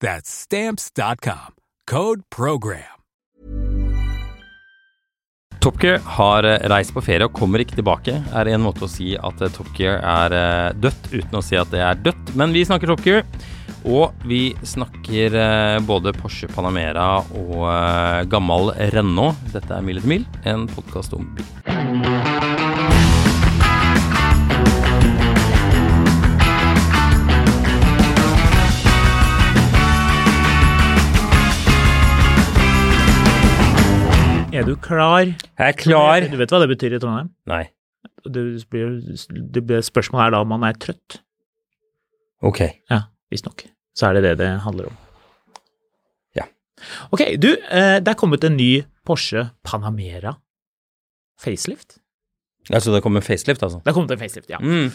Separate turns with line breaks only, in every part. That's stamps.com. Code program.
Top Gear har eh, reist på ferie og kommer ikke tilbake, er en måte å si at eh, Top Gear er eh, dødt, uten å si at det er dødt. Men vi snakker Top Gear, og vi snakker eh, både Porsche Panamera og eh, gammel Renault. Dette er Mil etter mil, en podkast om bil.
Er du klar?
Jeg er klar.
Du vet hva det betyr i Trondheim?
Nei.
Det blir, det blir spørsmålet er da om man er trøtt.
Ok.
Ja, visstnok. Så er det det det handler om.
Ja.
Ok, du, eh, det er kommet en ny Porsche Panamera facelift.
Jeg så det kom en facelift, altså.
Det er kommet en facelift, ja.
Mm.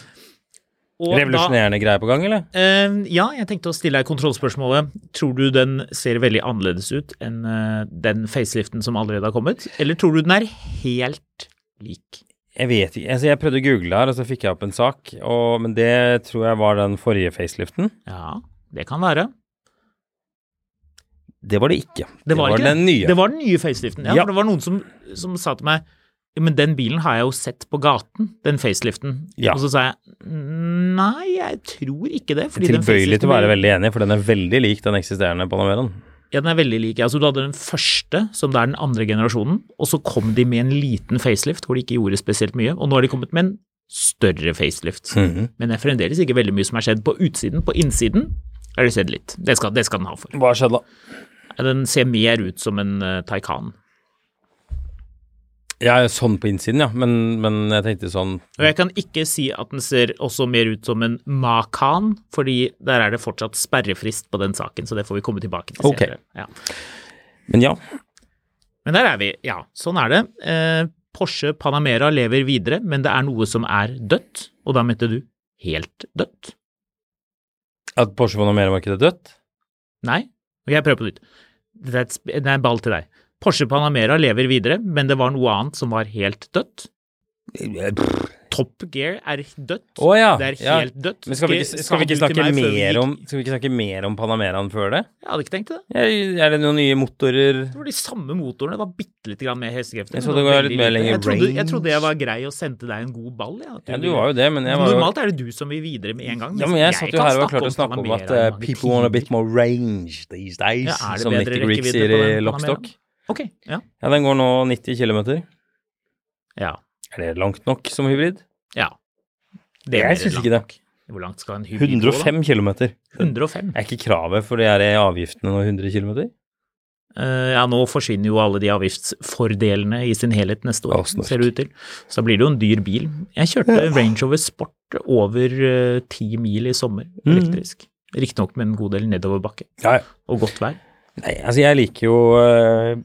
Og da-
Revolusjonerende greier på gang, eller?
Eh, ja, jeg tenkte å stille deg kontrollspørsmålet. Tror du den ser veldig annerledes ut enn eh, den faceliften som allerede har kommet, eller tror du den er helt lik?
Jeg vet ikke. Altså, jeg prøvde å google her, og så fikk jeg opp en sak. Og, men det tror jeg var den forrige faceliften.
Ja, det kan være.
Det var det ikke.
Det var, ikke
den
det.
nye.
Det var den nye faceliften. Ja,
Ja.
For det var noen som, som sa til meg «Ja, men den bilen har jeg jo sett på gaten, den faceliften.
Ja.
Og så sa jeg nei, jeg tror ikke det. fordi den
Tilbøyelig til å
faceliften
være
ble-
veldig enig, for den er veldig lik den eksisterende Panameraen.
Ja, den er veldig lik. Altså, du hadde den første, som det er den andre generasjonen, og så kom de med en liten facelift hvor de ikke gjorde spesielt mye, og nå har de kommet med en større facelift.
Mhm.
Men det er fremdeles ikke veldig mye som er skjedd på utsiden. På innsiden er det skjedd litt. Det skal, det skal den ha for.
Hva skjedde da?
Den ser mer ut som en eh, Taycan.
Ja, sånn på innsiden, ja. Men, men jeg tenkte sånn
Og jeg kan ikke si at den ser også mer ut som en Macan, fordi der er det fortsatt sperrefrist på den saken, så det får vi komme tilbake til
Ok.
senere. Ja.
Men ja.
Men der er vi, ja. Sånn er det. Eh, Porsche Panamera lever videre, men det er noe som er dødt, og da mente du helt dødt?
At Porsche Panamera-markedet er dødt?
Nei? Ok, jeg prøver på nytt. Det er, et, sp- det er en ball til deg. Porsche Panamera lever videre, men det var noe annet som var helt dødt.
Pff.
Top Gear er dødt.
Å ja.
Det er
ja.
helt dødt.
Men skal vi
Det
ikke,
sa
skal vi ikke
du til
snakke
meg før vi
mer
gikk.
om Skal vi ikke snakke mer om Panameraen før det?
Jeg hadde ikke tenkt det.
Ja, Er det noen nye motorer?
Det var de samme motorene, det var bitte litt grann mer hestekrefter.
Jeg
men
trodde det var
veldig
litt mer
lite.
lenger
jeg trodde, jeg
range.
trodde jeg var grei og sendte deg en god ball. Ja, at
Ja, du var jo det, men jeg var jo
Normalt er det du som vil videre med en gang.
Ja, men jeg,
kan
satt jo her og
snakke
klarte å snakke om
Panamera
at
i
eh,
mange
people want a bit
timer.
more range these days,
Ja, er det
som
bedre
Nicky Greek
rekkevidde
sier
på
i
den
Lockstock.
Panameraen? Ok, ja.
Ja, den går nå 90 km.
ja.
Er det langt nok som hybrid?
ja. Det
Jeg syns ikke det.
Hvor langt skal en hybrid gå, da?
105 km.
105.
Er ikke kravet for de her avgiftene nå 100 km?
Eh, ja, nå forsvinner jo alle de avgiftsfordelene i sin helhet neste år,
Å, snork.
ser det ut til. Så da blir det jo en dyr bil. Jeg kjørte Range Rover Sport over eh, ti mil i sommer,
Mm.
elektrisk. Riktignok med en god del nedoverbakke
Ja, ja.
og godt vær.
Nei, altså jeg liker jo eh,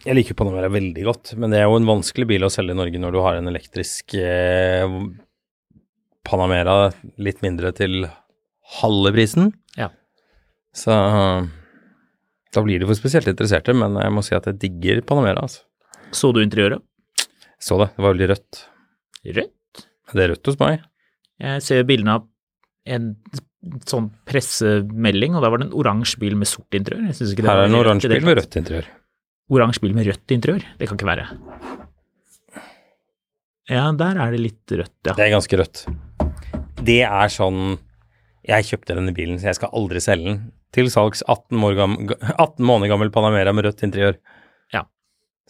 Jeg liker jo Panamera veldig godt, men det er jo en vanskelig bil å selge i Norge når du har en elektrisk eh, Panamera litt mindre til halve prisen.
Ja.
Så eh, da blir de for spesielt interesserte, men jeg må si at jeg digger Panamera, altså.
Så du interiøret?
Så det. Det var veldig rødt.
Rødt.
Det er rødt hos meg.
Jeg ser bildene av en sånn pressemelding, og da var det en oransje bil med sort interiør. Jeg synes ikke det
Her er
var
en
rødt i
oransje
det
bil med
hele tatt.
rødt interiør.
Oransje bil med rødt interiør? Det kan ikke være. Ja, der er det litt rødt, ja.
Det er ganske rødt. Det er sånn Jeg kjøpte denne bilen, så jeg skal aldri selge den. Til salgs 18, år gam, 18 måneder gammel Panamera med rødt interiør.
Ja.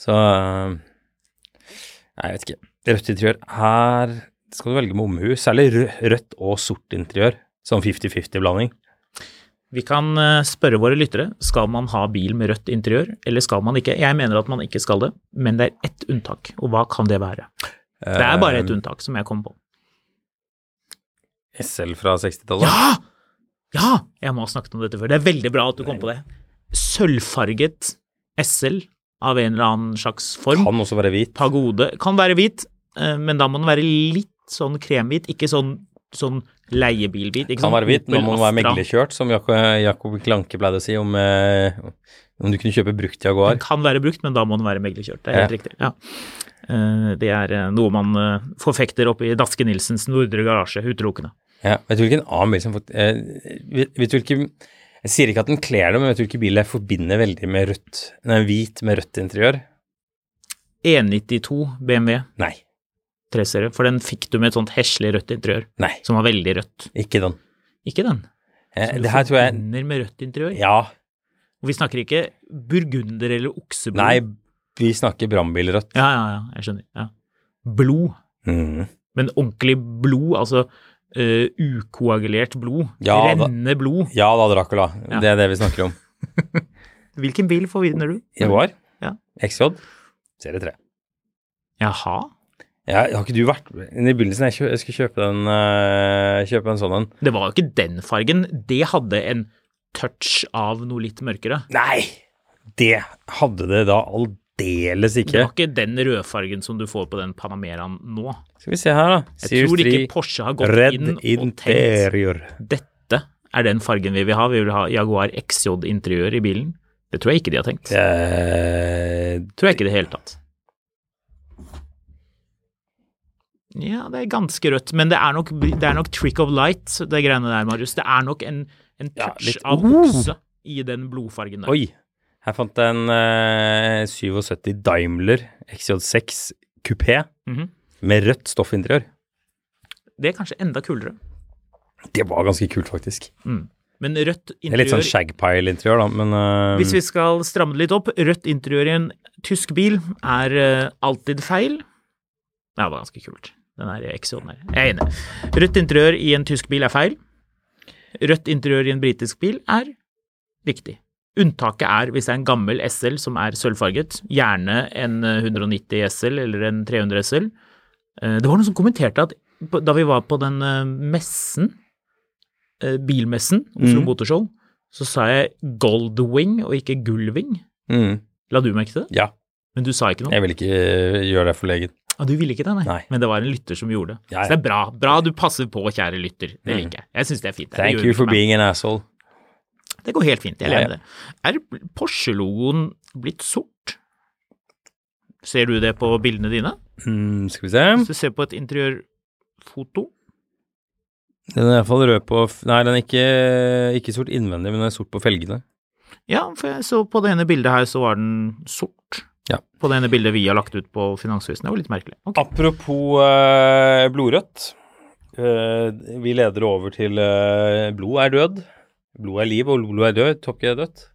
Så øh, Nei, jeg vet ikke. Rødt interiør her skal du velge med omhu. Særlig rø- rødt og sort interiør. Sånn 50-50-blanding.
Vi kan eh, spørre våre lyttere, skal man ha bil med rødt interiør, eller skal man ikke? Jeg mener at man ikke skal det, men det er ett unntak, og hva kan det være? Det er bare
Eh.
ett unntak som jeg kom på.
SL fra 60-tallet.
Ja! Ja! Jeg må ha snakket om dette før. Det er veldig bra at du kom på det. Sølvfarget SL av en eller annen slags form.
Kan også være hvit.
Pagode kan være hvit, eh, men da må den være litt sånn kremhvit, ikke sånn, sånn leiebilhvit. ikke
Kan
sånn
være hvit. Nå
Opel
må den være
Astra.
meglerkjørt, som Jakob, Jakob Klanke pleide å si om, eh, om du kunne kjøpe brukt Jaguar.
Den kan være brukt, men da må den være meglerkjørt. Det er helt riktig. Ja. Eh, Det er eh, noe man eh, forfekter oppe i Daske Nilsens nordre garasje utelukkende.
Ja, vet du hvilken annen bil som fakt- eh, vet, vet du hvilken Jeg sier ikke at den kler det, men vet du hvilken bil jeg forbinder veldig med rødt Nei, hvit med rødt interiør?
E E92 BMW
Nei.
3-serie, for den fikk du med et sånt heslig rødt interiør,
Nei,
som var veldig rødt.
ikke den.
Ikke den.
Eh,
som du
det her tror jeg
forbinder med rødt interiør.
Ja.
Og vi snakker ikke burgunder eller okseblod.
Nei, vi snakker brannbilrødt.
Ja, ja, ja, jeg skjønner. Ja. Blod.
Mm.
Men ordentlig blod, altså eh, ukoagulert blod.
Ja, da-
Rennende blod.
Ja da, Dracula.
Ja.
Det er det vi snakker om.
Hvilken bil forbinder du?
Jaguar?
Ja.
XJ? Serie 3.
Jaha.
Ja, har ikke du vært I begynnelsen jeg, kjø, jeg skulle kjøpe den, eh, kjøpe en sånn en.
Det var jo ikke den fargen. Det hadde en touch av noe litt mørkere.
Nei! Det hadde det da aldeles
Det
ikke.
var ikke den rødfargen som du får på den Panameraen nå.
Skal vi se her, da.
Jeg tror
Series 3.
ikke Porsche har gått
Red
inn og tenkt
interior.
dette er den fargen vi vil ha. Vi vil ha Jaguar XJ-interiør i bilen. Det tror jeg ikke de har tenkt.
Eh,
Tror jeg ikke i det hele tatt. Ja, det er ganske rødt, men det er nok, det er nok trick of light, det greiene der, Marius. Det er nok en, en
Ja,
touch
litt-
av
Oh!
okse i den blodfargen der.
oi, her fant jeg en eh, 77 Daimler XJ6 kupé
Mhm.
med rødt stoffinteriør.
Det er kanskje enda kulere.
Det var ganske kult, faktisk.
Men rødt
Det er litt sånn
interiør
shagpile-interiør, da, men eh,
Hvis vi skal stramme det litt opp, rødt interiør i en tysk bil er eh, alltid feil. Ja, det var ganske kult. Den her XJ-en her. Jeg er enig. Rødt interiør i en tysk bil er feil. Rødt interiør i en britisk bil er riktig. Unntaket er hvis det er en gammel SL som er sølvfarget, gjerne en eh, 190 SL eller en 300 SL. Eh, Det var noen som kommenterte at på- da vi var på den eh, messen, eh, bilmessen, Oslo
Mhm.
Motorshow, så sa jeg Goldwing og ikke Gullwing.
mm,
La du merke til det?
Ja.
Men du sa ikke noe?
Jeg vil ikke eh, gjøre deg forlegen.
Ah, du ville ikke det, nei.
Nei.
Men det var en lytter som gjorde det.
Ja, ja.
Så det er bra. Bra du passer på, kjære lytter. Det
Mm.
liker jeg. Jeg syns det er fint. Det,
Thank
gjør
you
det
for
meg.
being an asshole.
det går helt fint. Jeg
Ja,
lever det. Er Porsche-logoen blitt sort? Ser du det på bildene dine?
Mm, skal vi se.
Hvis du ser på et interiørfoto
Den er iallfall rød på f- Nei, den er ikke, ikke sort innvendig, men den er sort på felgene.
Ja, for jeg så på det ene bildet her, så var den sort.
Ja.
På det ene bildet vi har lagt ut på Finanshusen. Det var litt merkelig. Ok.
Apropos eh, blodrødt. Eh, vi leder over til eh, blod er død. Blod er liv, og blod er død. Topp er dødt.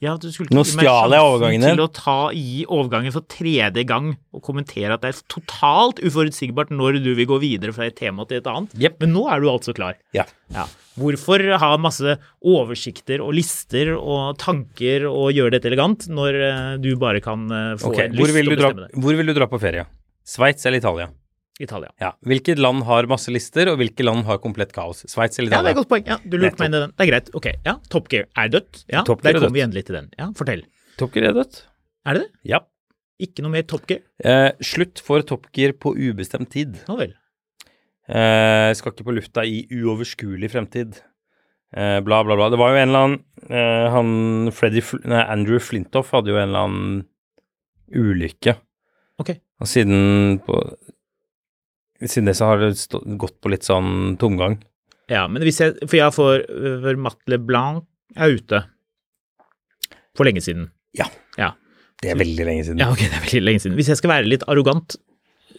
Ja, du skulle
Nå
ikke gi meg
stjal jeg
sjansen
overgangen din.
Til å ta, gi overgangen for tredje gang og kommentere at det er totalt uforutsigbart når du vil gå videre fra et tema til et annet.
Jepp.
Men nå er du altså klar.
Ja.
Ja. Hvorfor ha masse oversikter og lister og tanker og gjøre dette elegant når eh, du bare kan eh, få
Ok,
en
hvor
lyst
vil,
til
du
å
dra,
bestemme det?
hvor vil du dra på ferie? Sveits eller Italia?
Italia.
Ja. Hvilket land har masse lister, og hvilke land har komplett kaos? Sveits eller
Ja,
Italia?
det er et godt poeng. Ja, du lurte meg inn i den. Det er greit. Ok, ja. Top Gear er dødt. Ja,
Top Gear
der
er
kommer
dødt.
vi endelig til den. Ja, fortell.
Top Gear er dødt.
Er det det?
Ja.
Ikke noe mer Top Gear?
Eh, slutt for Top Gear på ubestemt tid.
Nå vel.
Eh, skal ikke på lufta i uoverskuelig fremtid. Eh, bla, bla, bla. Det var jo en eller annen eh, Han Freddy Fl nei, Andrew Flintoff hadde jo en eller annen ulykke
Ok.
Og siden på Siden det så har det stå, gått på litt sånn tomgang.
Ja, men hvis jeg For jeg får for Matt LeBlanc er ute. For lenge siden.
Ja.
Ja.
Det er veldig lenge siden.
Ja, ok, det er veldig lenge siden. Hvis jeg skal være litt arrogant,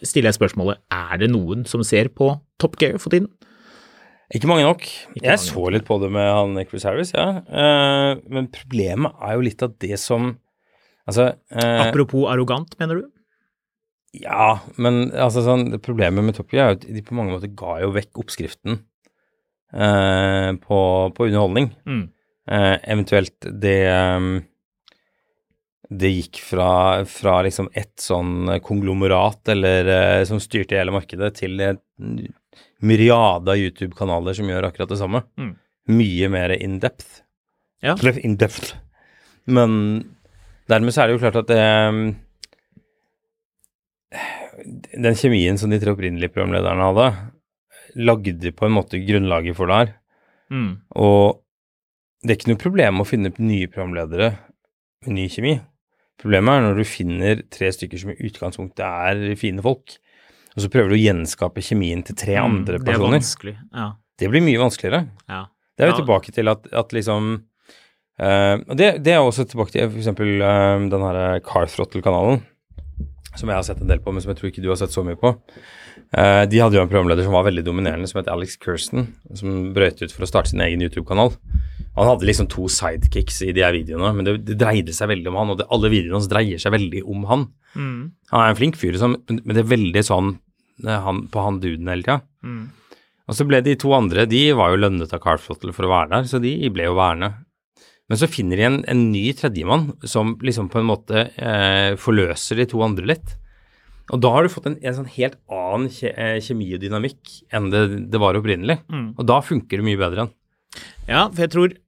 stiller jeg spørsmålet er det noen som ser på Top Gear for tiden?
Ikke mange nok.
Ikke
jeg
mange
så
nok,
litt på det med han Chris Harris, ja. Eh, men problemet er jo litt at det som Altså eh,
Apropos arrogant, mener du?
Ja, men altså sånn, det problemet med Top Gear er jo at de på mange måter ga jo vekk oppskriften eh, på, på underholdning.
Mm.
Eh, eventuelt det ehm, Det gikk fra, fra liksom et sånn konglomerat eller, eh, som styrte hele markedet, til en myriade av YouTube-kanaler som gjør akkurat det samme.
Mm.
Mye mer in depth.
Ja.
In depth. Men dermed så er det jo klart at det ehm, den kjemien som de tre opprinnelige programlederne hadde, lagde på en måte grunnlaget for det her.
Mm.
Og det er ikke noe problem å finne nye programledere med ny kjemi. Problemet er når du finner tre stykker som i utgangspunktet er fine folk, og så prøver du å gjenskape kjemien til tre andre
Mm, Det er
personer.
vanskelig. Ja.
Det blir mye vanskeligere.
ja.
Det er jo
Ja.
tilbake til at, at liksom eh, Og det, det er også tilbake til f.eks. Uh, den her Carthrottle-kanalen, som jeg har sett en del på, men som jeg tror ikke du har sett så mye på. Eh, de hadde jo en programleder som var veldig dominerende, som het Alex Kirsten, som brøt ut for å starte sin egen YouTube-kanal. Han hadde liksom to sidekicks i de her videoene, men det, det dreide seg veldig om han, og det, alle videoene hans dreier seg veldig om han.
Mm.
Han er en flink fyr, liksom, men men det er veldig sånn eh, han, på han duden hele tida.
Mm.
Og så ble de to andre, de var jo lønnet av Carflottle for å være der, så de ble jo værende. Men så finner de en, en ny tredjemann som liksom på en måte eh, forløser de to andre litt. Og da har du fått en, en sånn helt annen kje, eh, kjemi og dynamikk enn det, det var opprinnelig.
Mm.
Og da funker det mye bedre enn.
Ja, for jeg tror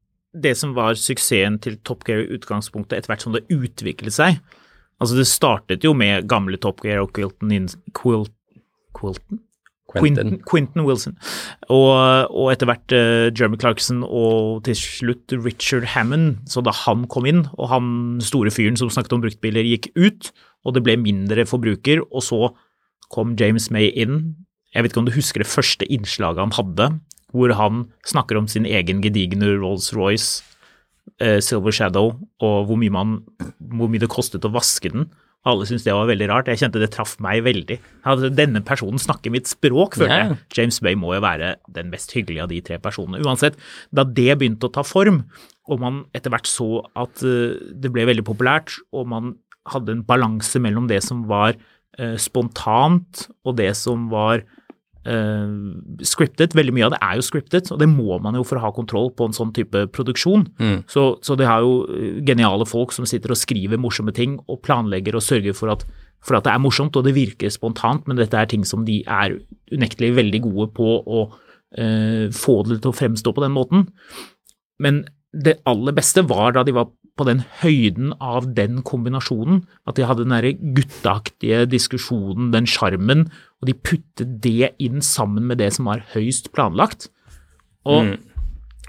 det som var suksessen til Top Gear i utgangspunktet, etter hvert som det utviklet seg Altså, det startet jo med gamle Top Gear og Quilton in, Quil, Quilton? Quinton, Quinton Wilson. Og, og etter hvert eh, Jeremy Clarkson og til slutt Richard Hammond. Så da han kom inn, og han store fyren som snakket om bruktbiler, gikk ut, og det ble mindre forbruker, og så kom James May inn. Jeg vet ikke om du husker det første innslaget han hadde, hvor han snakker om sin egen gedigne Rolls-Royce, eh, Silver Shadow, og hvor mye, man, hvor mye det kostet å vaske den. Alle syntes det var veldig rart. Jeg kjente det traff meg veldig. Altså, Denne personen snakker mitt språk, følte
Ja.
jeg. James Bay må jo være den mest hyggelige av de tre personene. Uansett, da det begynte å ta form, og man etter hvert så at eh, det ble veldig populært, og man hadde en balanse mellom det som var eh, spontant og det som var eh, scriptet. Veldig mye av det er jo scriptet, og det må man jo for å ha kontroll på en sånn type produksjon. Så, så det er jo eh, geniale folk som sitter og skriver morsomme ting og planlegger og sørger for at, for at det er morsomt og det virker spontant, men dette er ting som de er unektelig veldig gode på å eh, få det til å fremstå på den måten. Men det aller beste var da de var på den høyden av den kombinasjonen, at de hadde den derre gutteaktige diskusjonen, den sjarmen, og de puttet det inn sammen med det som var høyst planlagt. Og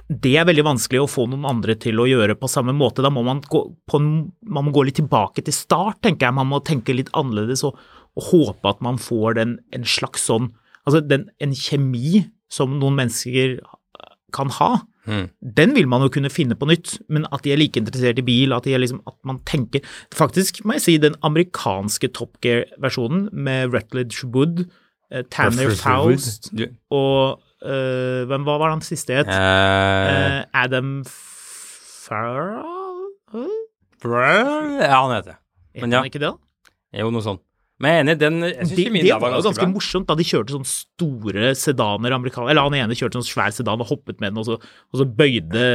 det er veldig vanskelig å få noen andre til å gjøre på samme måte. Da må man gå, på en, man må gå litt tilbake til start, tenker jeg. Man må tenke litt annerledes og, og håpe at man får den, en slags sånn Altså den, en kjemi som noen mennesker kan ha. Den vil man jo kunne finne på nytt, men at de er like interessert i bil, at, de er liksom, at man tenker Faktisk må jeg si den amerikanske Top Gear-versjonen med Rutledge Wood, eh, Tanner Faust
Du,
og eh, hvem, Hva var den siste het?
eh,
Eh, Adam Farrell? Heter
ja, han heter det. Men ja,
han ikke det? da?
jo, noe sånt. Men jeg er enig, den jeg synes
Det,
kjemien
det
der
var jo ganske
bra.
morsomt da de kjørte sånne store sedaner amerikaner, Eller han ene kjørte sånn svær sedan og hoppet med den, og så, og så bøyde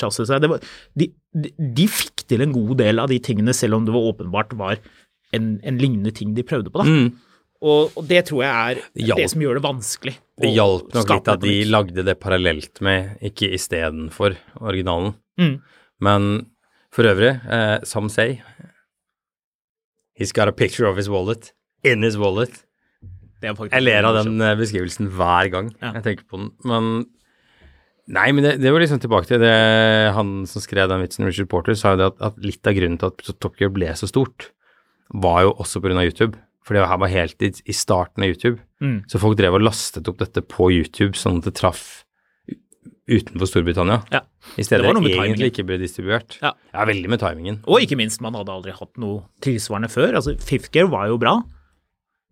chassiset seg. Det var, de, de, de fikk til en god del av de tingene, selv om det var åpenbart var en, en lignende ting de prøvde på. da. Og, og det tror jeg er
Mm. Det hjalp.
det som gjør det vanskelig.
Det
å
hjalp nok
skape
litt at
dette på
de
nytt.
lagde det parallelt med, ikke istedenfor originalen.
Mm.
Men for øvrig, eh, some say He's got a picture of his wallet in his wallet.
Det er faktisk
Jeg ler av
morsomt.
den eh, beskrivelsen hver gang
Ja.
jeg tenker på den. Men Nei, men det, det var liksom tilbake til det han som skrev den vitsen, Richard Porter, sa jo det at, at litt av grunnen til at Top Gear ble så stort, var jo også pga. YouTube. For det her var helt i, i starten av YouTube.
Mm.
Så folk drev og lastet opp dette på YouTube, sånn at det traff u- utenfor Storbritannia.
Ja.
I steder
Det var noe
det
med
egentlig
timingen.
ikke ble distribuert.
Ja.
veldig med timingen.
Og ikke minst, man hadde aldri hatt noe tilsvarende før. Altså, Fifth Gear var jo bra,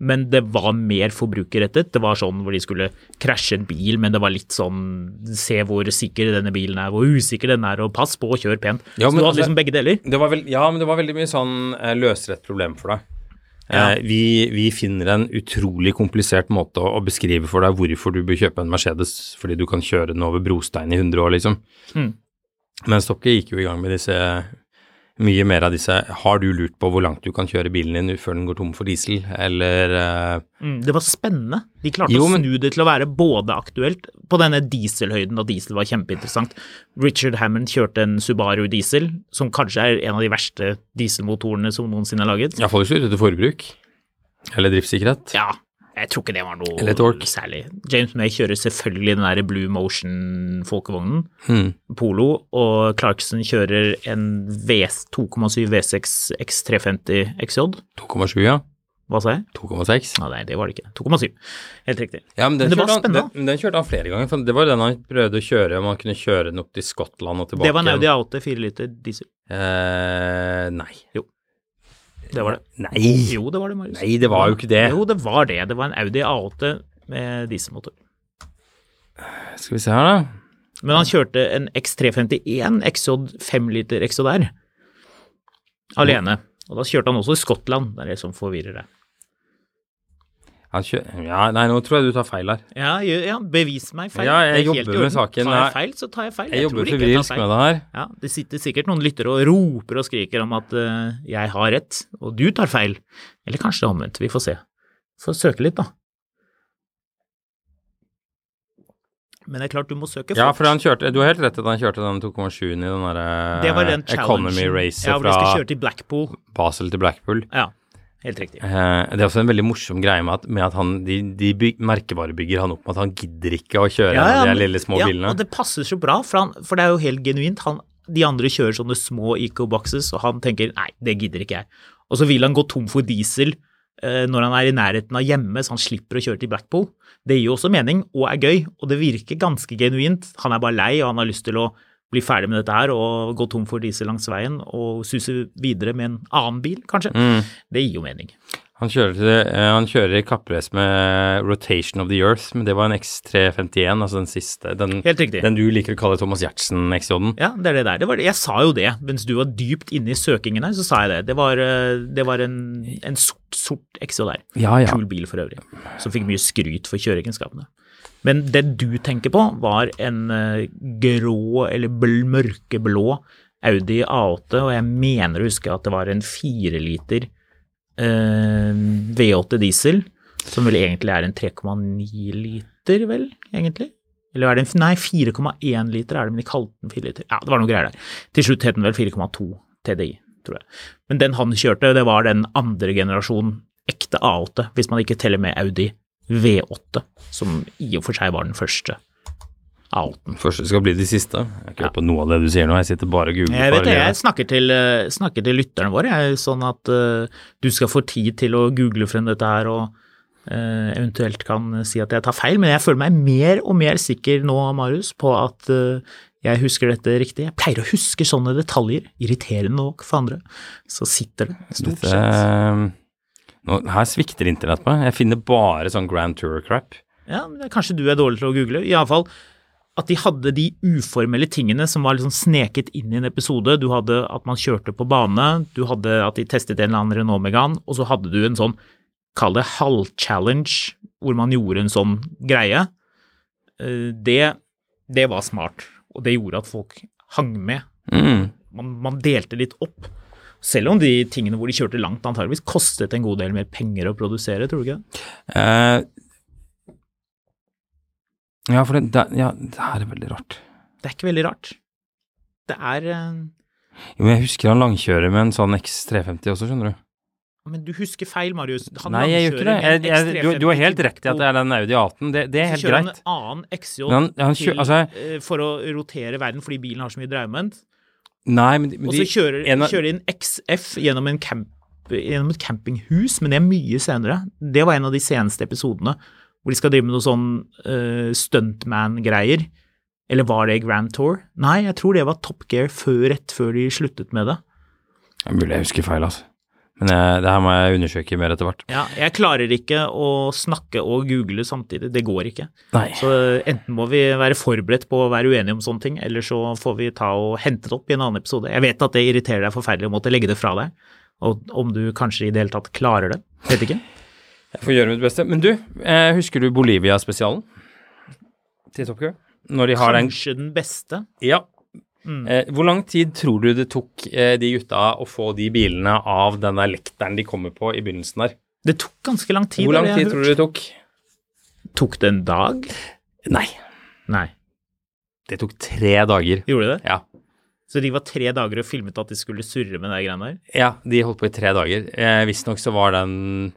men det var mer forbrukerrettet. Det var sånn hvor de skulle krasje en bil, men det var litt sånn se hvor sikker denne bilen er, hvor usikker den er, og pass på og kjør pent.
Ja,
Så
men
du
altså-
hadde liksom begge deler.
Det var vel, ja, men det var veldig mye sånn eh, løser et problem for deg. Eh, vi, vi finner en utrolig komplisert måte å, å beskrive for deg hvorfor du bør kjøpe en Mercedes fordi du kan kjøre den over brostein i 100 år, liksom. Men Stokke gikk jo i gang med disse mye mer av disse Har du lurt på hvor langt du kan kjøre bilen din før den går tom for diesel, eller eh,
Mm, det var spennende. De klarte
Jo,
å
men-
snu det til å være både aktuelt på denne dieselhøyden, da diesel var kjempeinteressant. Richard Hammond kjørte en Subaru diesel, som kanskje er en av de verste dieselmotorene som noensinne er laget.
Iallfall ikke ute til forbruk. Eller driftssikkerhet.
Ja, jeg tror ikke det var noe
Eller et ork.
særlig. James May kjører selvfølgelig den der Blue Motion-folkevognen,
Hmm.
Polo, og Clarkson kjører en VS 2,7 V6 X350 XJ.
2,7, ja.
Hva sa jeg?
2,6.
Ah, nei, det var det ikke. 2,7. Helt riktig.
Ja, men den,
Men det var
kjørte han,
spennende.
den, men den kjørte han flere ganger. For det var jo den han prøvde å kjøre, om han kunne kjøre den opp til Skottland og tilbake.
Det var en Audi
igjen.
A8 4 liter diesel.
Eh, nei.
Det var det.
Nei.
Jo, det var det, Marius.
Nei, det var jo ikke det.
Jo, det var det. Det var en Audi A8 med dieselmotor.
Skal vi se her, da.
Men han kjørte en X351 XJ 5 liter XJR alene. Og da kjørte han også i Skottland. Det er det som forvirrer deg.
Han kjø ja, nei, nå tror jeg du tar feil her.
Ja, jo- ja, bevis meg feil.
Ja, jeg
Det er helt
jobber
i orden.
med saken.
Tar jeg
Nei.
feil, så tar jeg feil.
Jeg, jobber
tror ikke jeg tar
febrilsk
feil.
med det her.
Ja, det sitter sikkert noen lyttere og roper og skriker om at eh, jeg har rett, og du tar feil. Eller kanskje det er omvendt. Vi får se. Får søke litt, da. Men det er klart, du må søke fort.
Ja, for han kjørte, du har helt rett i at han kjørte den 2,7-en i den
det var
derre
den challengen.
Eh, Economy Racer
ja, hvor de
fra
skal kjøre til Blackpool.
Basel til Blackpool.
Ja, helt riktig.
Eh, det er også en veldig morsom greie med at, med at han, de, de byg, merkevarebygger han opp med at han gidder ikke å kjøre en av de her
men-
lille små
ja,
bilene.
og det passer så bra, for, han, for det er jo helt genuint. Han, de andre kjører sånne små eco-boxes, og han tenker nei, det gidder ikke jeg. Og så vil han gå tom for diesel eh, når han er i nærheten av hjemme, så han slipper å kjøre til Blackpool. Det gir jo også mening, og er gøy, og det virker ganske genuint. Han er bare lei, og han har lyst til å bli ferdig med dette her og gå tom for diesel langs veien og suse videre med en annen bil, kanskje.
Mm.
Det gir jo mening.
Han kjører, til- eh, han kjører i kapprace med eh, Rotation of the Earth, men det var en X351, altså den siste. Den,
Helt riktig.
den du liker å kalle Thomas Giertsen XJ-en.
Ja, det er det der. Det var, jeg sa jo det. Mens du var dypt inne i søkingen her, så sa jeg det. Det var, eh, det var en, en sort, sort XJ der.
Ja, ja.
Kul bil for øvrig, som fikk mye skryt for kjøreegenskapene. Men det du tenker på, var en eh, grå eller bl mørkeblå Audi A8, og jeg mener å huske at det var en 4 liter eh, V8 diesel, som vel egentlig er en 3,9 liter, vel, egentlig? Eller er det en Nei, 4,1 liter er det, men de kalte den 4 liter. Ja, det var noe greier der. Til slutt het den vel 4,2 TDI, tror jeg. Men den han kjørte, det var den andre generasjonen ekte A8, hvis man ikke teller med Audi V8, som i og for seg var den første A8-en.
Første skal bli de siste. Jeg har ikke hørt på noe av det du sier nå, jeg sitter bare og googler.
Jeg vet det, jeg
parallelt.
snakker til, eh, snakker til lytterne våre, jeg, sånn at eh, du skal få tid til å google frem dette her og eh, eventuelt kan si at jeg tar feil, men jeg føler meg mer og mer sikker nå, Marius, på at eh, jeg husker dette riktig. Jeg pleier å huske sånne detaljer, irriterende nok for andre. Så sitter det stort
Dette, eh,
sett.
nå, her svikter internett meg. Jeg finner bare sånn Grand Tour-crap.
Ja, men det er kanskje du er dårlig til å google. Iallfall at de hadde de uformelle tingene som var liksom sneket inn i en episode. Du hadde at man kjørte på bane, du hadde at de testet en eller annen Renault Megane, og så hadde du en sånn, kall det halv-challenge, hvor man gjorde en sånn greie. Eh, Det, det var smart, og det gjorde at folk hang med.
Mm.
Man, man delte litt opp. Selv om de tingene hvor de kjørte langt antageligvis kostet en god del mer penger å produsere, tror du ikke det?
Eh, ja, for det, det, ja, det her er veldig rart.
Det er ikke veldig rart. Det er eh,
Jo, men jeg husker han langkjører med en sånn X350 også, skjønner du.
Men du husker feil, Marius. Han
Nei, jeg gjør ikke det. Jeg,
langkjører en
jeg, du, du har
X350
helt rett i at det er den Audi A18. Det, det er
Så
helt
kjører han
greit.
en annen XJ
Men han- han
til,
kjø- altså-
eh, for å rotere verden fordi bilen har så mye dreiemoment.
Nei, men, de- men
Og
de-
så kjører
en
de
av-
kjører de en XF gjennom en camp, gjennom et campinghus, men det er mye senere. Det var en av de seneste episodene hvor de skal drive med noe sånn eh, stuntman-greier. Eller var det Grand Tour? Nei, jeg tror det var Top Gear før, rett før de sluttet med det.
Det er mulig jeg husker feil, altså. Men jeg, det her må jeg undersøke mer etter hvert.
Ja, jeg klarer ikke å snakke og google samtidig. Det går ikke.
Nei.
Så eh, enten må vi være forberedt på å være uenige om sånne ting, eller så får vi ta og hente det opp i en annen episode. Jeg vet at det irriterer deg forferdelig å måtte legge det fra deg, og om du kanskje i det hele tatt klarer det. Vet ikke.
Jeg får gjøre mitt beste. Men du, eh, husker du Bolivia-spesialen til Top Gear? Når de har den
Kanskje Mm. den beste.
Ja. Eh, hvor lang tid tror du det tok eh, de gutta å få de bilene av den der lekteren de kommer på i begynnelsen der?
Det tok ganske lang tid.
Hvor lang
har jeg
tid tror du det tok?
hørt. Tok det en dag?
Nei.
Nei.
Det tok tre dager.
Gjorde det det?
Ja.
Så de var tre dager og filmet at de skulle surre med de greiene der?
ja, de holdt på i tre dager. Eh, Visstnok så var den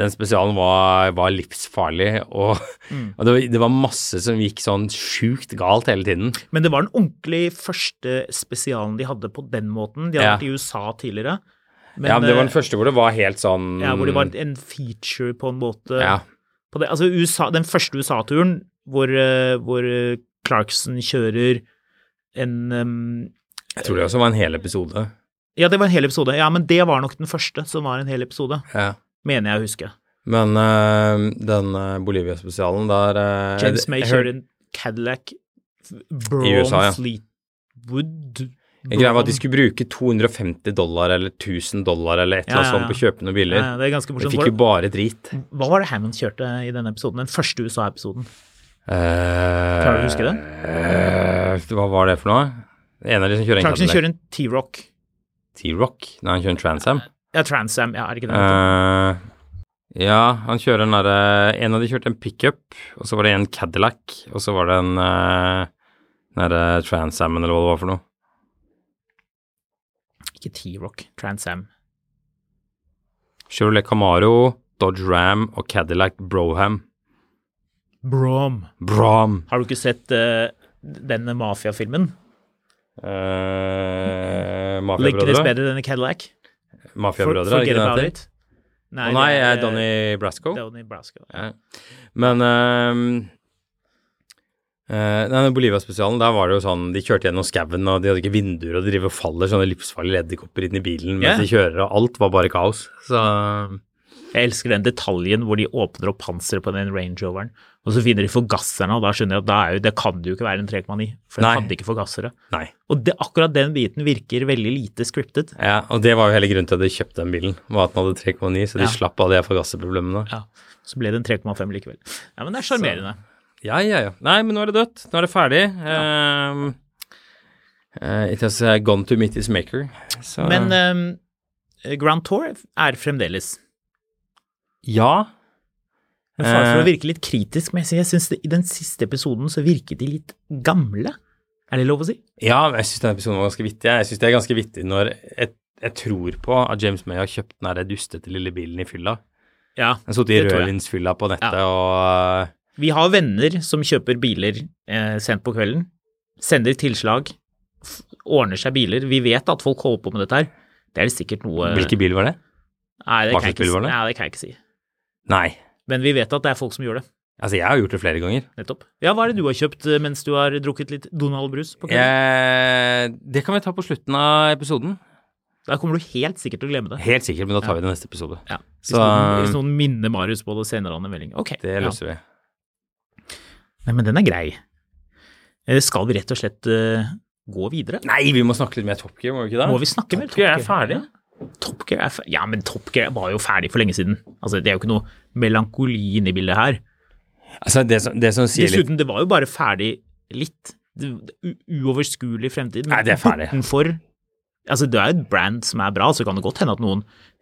den spesialen var, var livsfarlig, og,
Mm.
og det, var, det var masse som gikk sånn sjukt galt hele tiden.
Men det var den ordentlig første spesialen de hadde på den måten. De hadde
Ja.
vært i USA tidligere.
ja, men Det var den
eh,
første hvor det var helt sånn
Ja, hvor det var en feature på en måte.
Ja.
På det. Altså USA, den første USA-turen hvor, eh, hvor eh, Clarkson kjører en em,
Jeg tror det også var en hel episode.
Ja, det var en hel episode. Ja, men det var nok den første som var en hel episode,
Ja.
mener jeg å huske.
Men øh, den øh, Bolivia-spesialen der øh,
James
jeg-
May
jeg
kjører
hør-
en Cadillac
I
Braun
USA, ja.
Fleetwood
Greia var at de
Braun-
skulle bruke 250 dollar eller 1000 dollar eller et eller
Ja,
annet
ja,
sånt på å kjøpe noen biler.
Ja, ja, det er ganske
jeg
morsomt.
fikk jo
Hva,
bare drit.
hva var det Hammond kjørte i denne episoden? Den første USA-episoden?
Klarer
du å huske det?
Eh, hva var det for noe? En av de som kjører en
Clarkson
Cadillac.
kjører en T-Rock.
T-Rock? Nei, han kjører en Trans Am.
Ja, Transam, ja, er det ikke det?
Eh, ja, han kjører en derre En av de kjørte en pickup, og så var det en Cadillac, og så var det en uh, derre eh, Trans Am eller hva det var for noe. Eh.
Ikke T-Rock, Transam.
Chevrolet Camaro, Dodge Ram og Cadillac Broham.
Brom.
Bram.
Har du ikke sett eh, denne mafiafilmen?
Uh,
Lykkes
Mafiabrødre.
bedre denne Cadillac? For,
Mafiabrødre, er det
forget
ikke
about
det?
it.
Nei, Å nei, eh, jeg
det er-
er Donny Brasco.
Donnie Brasco.
Ja. Men eh, eh, nei, den Bolivia-spesialen, der var det jo sånn De kjørte gjennom skauen, og de hadde ikke vinduer, og de driver og faller sånne livsfarlige edderkopper inn i bilen mens
Ja.
de kjører, og alt var bare kaos. Så
Jeg elsker den detaljen hvor de åpner opp panseret på den Range Roveren, og så finner de forgasserne, og da skjønner jeg at da er jo, det kan det jo ikke være en 3,9, for
Nei.
den hadde ikke forgassere.
nei.
Og det, akkurat den biten virker veldig lite scriptet.
Ja, og det var jo hele grunnen til at de kjøpte den bilen, var at den hadde 3,9, så de
Ja.
slapp av de forgasserproblemene.
Ja, så ble det en 3,5 likevel. Ja, men det er sjarmerende.
Ja, ja, ja. Nei, men nå er det dødt. Nå er det ferdig. Ehm, eh, it has eh, gone to meet its maker. Så,
Men eh, Grand Tour er fremdeles.
Ja.
Men far for å
Eh.
virke litt kritisk, men jeg synes- jeg synes det- i den siste episoden så virket de litt gamle. Er det lov å si?
Ja, men jeg syns denne episoden var ganske vittig. Jeg syns det er ganske vittig når jeg, jeg tror på at James May har kjøpt den der dustete lille bilen i fylla.
Ja,
Den satt i
det tror jeg.
rødvinsfylla på nettet
Ja.
og eh,
Vi har venner som kjøper biler eh, sent på kvelden, sender tilslag, f- ordner seg biler. Vi vet at folk holder på med dette her. Det er det sikkert noe
eh, Hvilken bil var det?
Nei, det
hva
kan jeg
slags bil
ikke,
var
si.
det?
Nei, det kan jeg ikke si.
Nei.
Men vi vet at det er folk som gjør det.
Altså, jeg har gjort det flere ganger.
Nettopp. Ja, hva er det du har kjøpt eh, mens du har drukket litt Donald-brus på kvelden?
Eh, det kan vi ta på slutten av episoden.
Da kommer du helt sikkert til å glemme det.
Helt sikkert, men da tar vi det i neste episode.
Ja. Hvis,
Så-
noen, hvis noen minner Marius på det, sender han en melding. Ok.
Det
ja.
løser vi.
Nei, men den er grei. Eh, Skal vi rett og slett eh, gå videre?
Nei, vi må snakke litt mer Top Gear, må vi ikke det?
Må vi snakke mer?
Top Gear er ferdig.
Ja. Top Gear er ferdig. Ja, men Top Gear var jo ferdig for lenge siden. Altså, det er jo ikke noe melankoli inni bildet her.
Altså, det som, det som sier litt
Dessuten, det var jo bare ferdig litt. Det, det, u- uoverskuelig fremtid. men
Nei, det er ferdig.
Utenfor Altså, det er jo et brand som er bra, så kan det godt hende at noen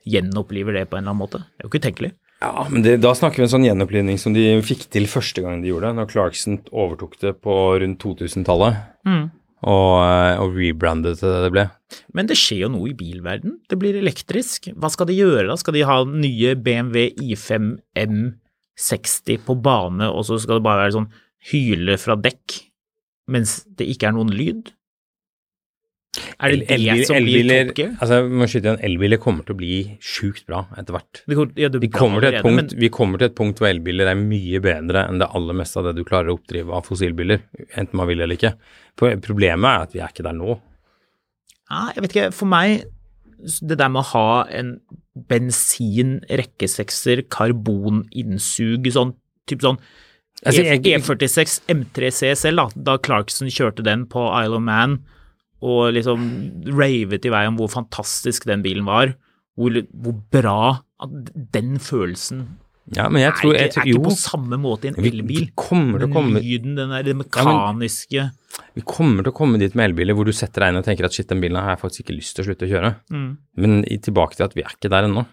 gjenoppliver det på en eller annen måte. Det er jo ikke utenkelig.
Ja, men det, da snakker vi en sånn gjenopplivning som de fikk til første gang de gjorde det, når Clarkson overtok det på rundt 2000-tallet.
Mm.
Og, eh, og rebrandet det det ble.
Men det skjer jo noe i bilverden. Det blir elektrisk. Hva skal de gjøre da? Skal de ha nye BMW I5 M60 på bane, og så skal det bare være sånn hyle fra dekk mens det ikke er noen lyd? Er det det
Elbil-
som blir
elbiler-
Top Gear?
Altså, jeg må skyte igjen, elbiler kommer til å bli sjukt bra etter hvert.
Det går- ja, det
Vi
bra
kommer, til et
allerede,
punkt, vi kommer til et punkt hvor elbiler er mye bedre enn det aller meste av det du klarer å oppdrive av fossilbiler, enten man vil eller ikke. For Problemet er at vi er ikke der nå.
Ja, jeg vet ikke, for meg s- det der med å ha en bensin, rekkesekser, karboninnsug, sånn typ sånn
Altså, jeg-
E- E46 M3 CSL, da, da Clarkson kjørte den på Isle of Man og liksom ravet i vei om hvor fantastisk den bilen var, hvor, hvor bra at Den følelsen
Ja, men jeg tror,
er,
jeg
ikke,
tror
er ikke
jo,
på samme måte i en
Vi- vi
elbil.
kommer til å
Den
komme-
Lyden, den der det mekaniske
vi kommer til å komme dit med elbiler hvor du setter deg inn og tenker at shit, den bilen her har jeg faktisk ikke lyst til å slutte å kjøre.
Mm.
Men i- tilbake til at vi er ikke der ennå.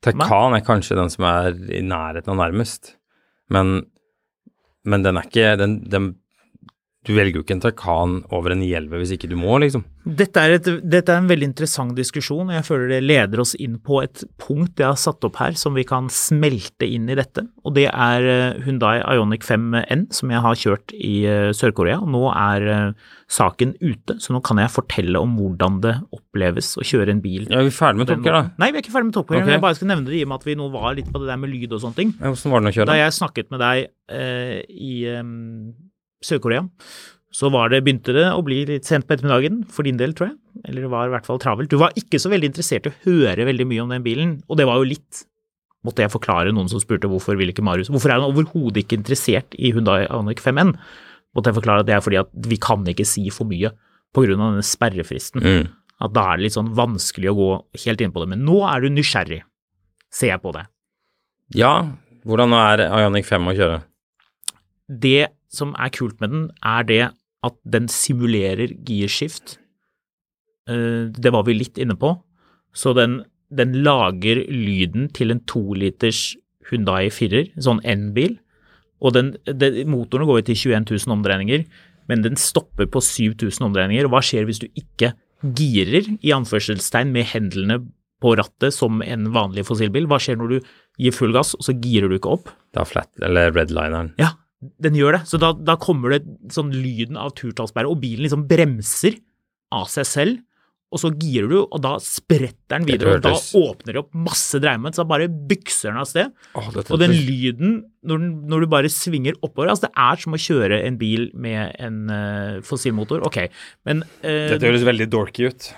Taycan er kanskje den som er i nærheten av nærmest, men, men den er ikke den, den, Du velger jo ikke en Taycan over en Hjelve hvis ikke du må, liksom.
Dette er, et, dette er en veldig interessant diskusjon, og jeg føler det leder oss inn på et punkt jeg har satt opp her som vi kan smelte inn i dette. Og det er eh, Hundai Ionic 5N, som jeg har kjørt i eh, Sør-Korea. Og Nå er eh, saken ute, så nå kan jeg fortelle om hvordan det oppleves å kjøre en bil.
Ja, vi er ferdig med Top Gear, da.
Nei, vi er ikke ferdig med Top Gear,
Ok.
men jeg bare skal nevne det i og med at vi nå var litt på det der med lyd og sånne ting.
Ja, Hvordan var den å kjøre?
Da jeg snakket med deg eh, i eh, Sør-Korea, så var det, begynte det å bli litt sent på ettermiddagen, for din del, tror jeg. Eller det var i hvert fall travelt. Du var ikke så veldig interessert i å høre veldig mye om den bilen, og det var jo litt. Måtte jeg forklare noen som spurte hvorfor vil ikke Marius Hvorfor er han overhodet ikke interessert i Hundai Anik 5N? Måtte jeg forklare at det er fordi at vi kan ikke si for mye på grunn av denne sperrefristen.
Mm.
At da er det litt sånn vanskelig å gå helt inn på det. Men nå er du nysgjerrig, ser jeg på deg.
Ja, hvordan er Ionic 5 å kjøre?
det som er kult med den, er det at den simulerer girskift. Eh, Det var vi litt inne på. Så den, den lager lyden til en toliters Hundai 4-er, sånn N-bil. Og den, det- motoren går jo til 21 000 omdreininger, men den stopper på 7000 omdreininger. Og hva skjer hvis du ikke girer, i anførselstegn, med hendlene på rattet som en vanlig fossilbil? Hva skjer når du gir full gass, og så girer du ikke opp?
Da flat, eller redlineren.
Ja, den gjør det. Så da, da kommer det sånn lyden av turtallsbæret, og bilen liksom bremser av seg selv. Og så girer du, og da spretter den videre, og da
hørtes-
åpner det opp masse dreiement, så da bare bykser den av sted.
Åh, dette
Og den
hørtes-
lyden når, den, når du bare svinger oppover altså Det er som å kjøre en bil med en eh, fossilmotor. Ok, men eh,
Dette høres veldig dorky ut.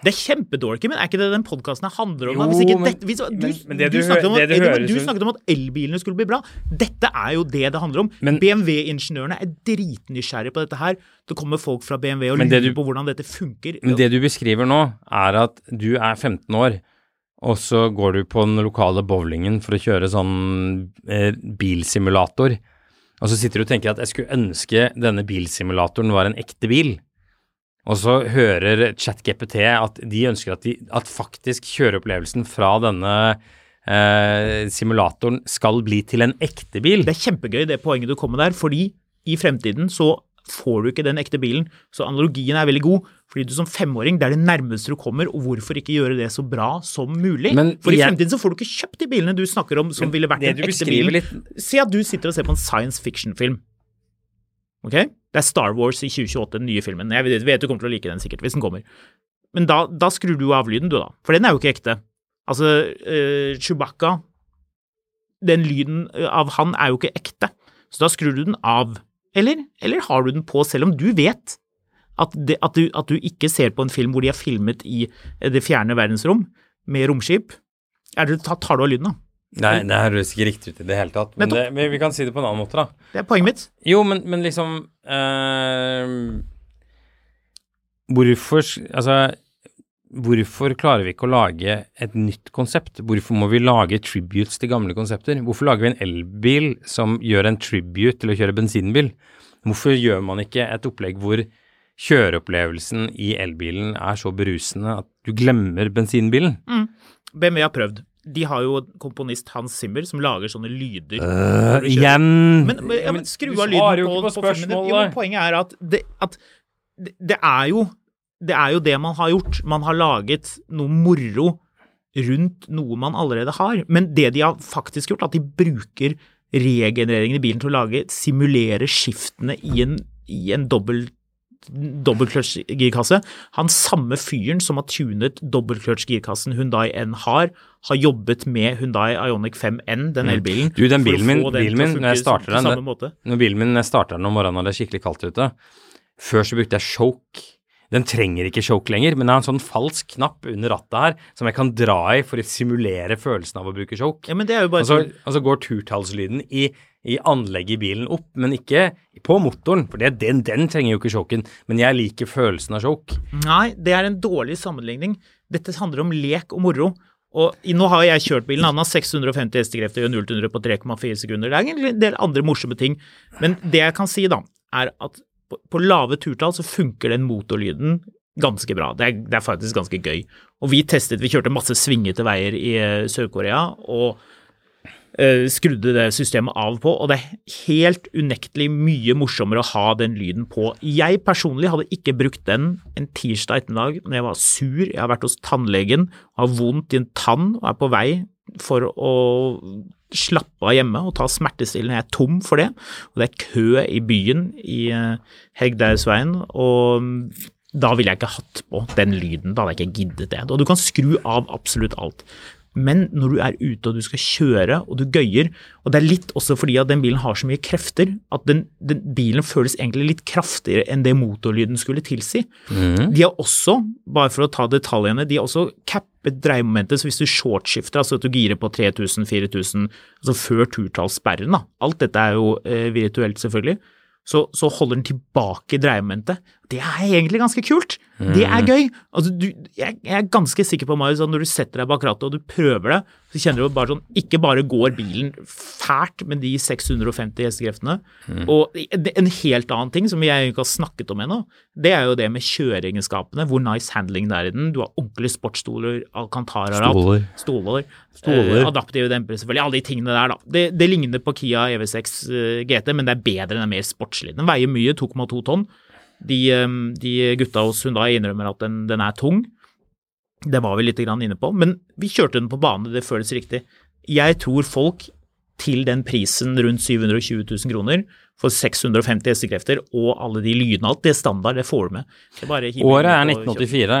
det er kjempedorky, men er ikke det den podkasten handler om? da?
Jo,
Hvis ikke
men-
dette, hvis, du,
men- men det du
du,
hø-
snakket om, at-
det du
Eddie,
hører
men du
som-
snakket om at elbilene skulle bli bra. Dette er jo det det handler om.
Men-
BMW-ingeniørene er dritnysgjerrige på dette her. Det kommer folk fra BMW og
Men det
lurer
du-
på hvordan dette funker.
Men det du beskriver nå, er at du er 15 år, og så går du på den lokale bowlingen for å kjøre sånn eh, bilsimulator. Og så sitter du og tenker at jeg skulle ønske denne bilsimulatoren var en ekte bil. Og så hører ChatGPT at de ønsker at, de, at faktisk kjøreopplevelsen fra denne eh, simulatoren skal bli til en ekte bil.
Det er kjempegøy det poenget du kom med der, fordi i fremtiden så får du ikke den ekte bilen. Så analogien er veldig god, fordi du som femåring, det er det nærmeste du kommer, og hvorfor ikke gjøre det så bra som mulig?
Men
For i
jeg-
fremtiden så får du ikke kjøpt de bilene du snakker om som ville vært
det
den
du
ekte
beskriver
bilen. Si at du sitter og ser på en science fiction-film. Ok? Det er Star Wars i 2028, den nye filmen. Jeg vet- vet du kommer til å like den sikkert, hvis den kommer. Men da, da skrur du av lyden, du da. For den er jo ikke ekte. Altså, eh, Chewbacca Den lyden eh, av han er jo ikke ekte. Så da skrur du den av. Eller, eller har du den på, selv om du vet at, det, at, du, at du ikke ser på en film hvor de har filmet i eh, det fjerne verdensrom med romskip? Er det, ta- tar du av lyden, da?
Nei, det høres ikke riktig ut i det hele tatt. Men, det,
Nettopp.
men vi kan si det på en annen måte, da.
Det er poenget mitt.
Jo, men, men liksom eh, Hvorfor s- Altså, hvorfor klarer vi ikke å lage et nytt konsept? Hvorfor må vi lage tributes til gamle konsepter? Hvorfor lager vi en elbil som gjør en tribute til å kjøre bensinbil? Hvorfor gjør man ikke et opplegg hvor kjøreopplevelsen i elbilen er så berusende at du glemmer bensinbilen?
Mm. BMW har prøvd. De har jo en komponist Hans Zimmer som lager sånne lyder.
Øh, igjen!
Men, men, ja, men skru
du
av
svarer
lyden
jo
på,
ikke
på filmen din. Jo, men poenget er at, det, at det, det er jo det er jo det man har gjort. Man har laget noe moro rundt noe man allerede har. Men det de har faktisk gjort, er at de bruker regenereringen i bilen til å lage, simulere skiftene i en, i en dobbel dobbeltkløtsj girkasse. Han samme fyren som har tunet dobbeltkløtsj girkassen Hyundai N har, har jobbet med Hyundai Ioniq 5N, den elbilen.
Mm. Du, den
for å
bilen min,
få den
bilen
til å
min
funke
når jeg starter
på
den,
samme måte.
det, når bilen min når jeg starter den om morgenen og det er skikkelig kaldt ute Før så brukte jeg choke. Den trenger ikke choke lenger, men det er en sånn falsk knapp under rattet her som jeg kan dra i for å simulere følelsen av å bruke choke.
Ja, men det er jo bare
Og så, og så går turtallslyden i, i anlegget i bilen opp, men ikke på motoren, for det, den, den trenger jo ikke choken. Men jeg liker følelsen av choke.
Nei, det er en dårlig sammenligning. Dette handler om lek og moro. Og i- nå har jeg kjørt bilen, han har 650 hestekrefter og 0 til 100 på 3,4 sekunder. Det er egentlig en del andre morsomme ting. Men det jeg kan si da, er at på, på lave turtall så funker den motorlyden ganske bra. Det er, det er faktisk ganske gøy. Og vi testet, vi kjørte masse svingete veier i eh, Sør-Korea, og eh, skrudde det systemet av på, og det er helt unektelig mye morsommere å ha den lyden på. Jeg personlig hadde ikke brukt den en tirsdag ettermiddag når jeg var sur, jeg har vært hos tannlegen, har vondt i en tann og er på vei for å slappe av hjemme og ta smertestillende. Jeg er tom for det, og det er kø i byen i eh, Hegdehaugsveien, og mm, da ville jeg ikke hatt på den lyden, da hadde jeg ikke giddet det. Og du kan skru av absolutt alt. Men når du er ute og du skal kjøre og du gøyer, og det er litt også fordi at den bilen har så mye krefter, at den, den bilen føles egentlig litt kraftigere enn det motorlyden skulle tilsi. De har også, bare for å ta detaljene, de har også cappet dreiemomentet, så hvis du shortskifter, altså at du girer på 3000-4000, altså før turtallssperren, da. Alt dette er jo eh, virtuelt, selvfølgelig så, så holder den tilbake dreiemomentet. Det er egentlig ganske kult. Det er gøy. Altså, du, jeg, jeg er ganske sikker på, Marius, at når du setter deg bak rattet og du prøver det, så kjenner du bare sånn Ikke bare går bilen fælt med de 650 hestekreftene, og det- en helt annen ting som jeg ikke har snakket om ennå, det er jo det med kjøreegenskapene, hvor nice handling det er i den. Du har ordentlige sportsstoler, alcantara
Stoler.
Stoler.
Stoler.
Eh, adaptive dempere, selvfølgelig. Alle de tingene der, da. Det, det ligner på Kia EV6 eh, GT, men det er bedre, den er mer sportslig. Den veier mye, 2,2 tonn. De, eh, de gutta hos Hyundai innrømmer at den, den er tung. Det var vi litt grann inne på, men vi kjørte den på bane, det føles riktig. Jeg tror folk til den prisen rundt 720 000 kroner for 650 hestekrefter og alle de lydene, alt det standard, det får du med. Det er bare å hive
Året er
inn og kjøre.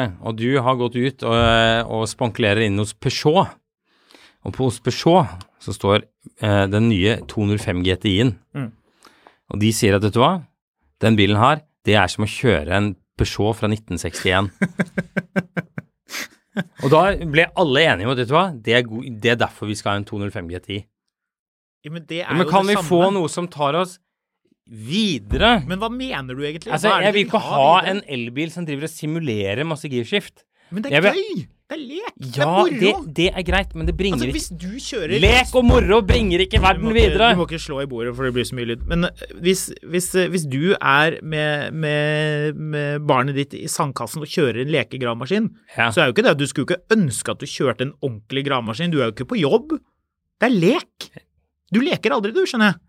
1984, og du har gått ut og, eh, og spankulerer inn hos Peugeot. Og på hos Peugeot så står eh, den nye 205 GTI-en.
Mm.
Og de sier at vet du hva, den bilen her, det er som å kjøre en Peugeot fra 1961. og da ble alle enige om at vet du hva, det er, god, det er derfor vi skal ha en 205 GTI.
Ja, men det er
Ja, men
jo
kan
det
vi
samme.
få noe som tar oss videre?
Men hva mener du egentlig?
Altså,
Hva er det
jeg
du
vil ikke ha
videre?
en elbil som driver og simulerer masse girskift.
Men det
jeg
er
vil-
gøy! Det er lek! det er
Ja,
moro!
det, det er greit, men det bringer
altså, hvis du kjører
ikke Lek og moro bringer ikke
Du må
verden
ikke-
videre!
Du må ikke slå i bordet, for det blir så mye lyd. Men eh, hvis, hvis, eh, hvis du er med, med, med barnet ditt i sandkassen og kjører en lekegravemaskin,
Ja.
så er jo ikke det at du skulle jo ikke ønske at du kjørte en ordentlig gravemaskin. Du er jo ikke på jobb. Det er lek! Du leker aldri, du, skjønner jeg.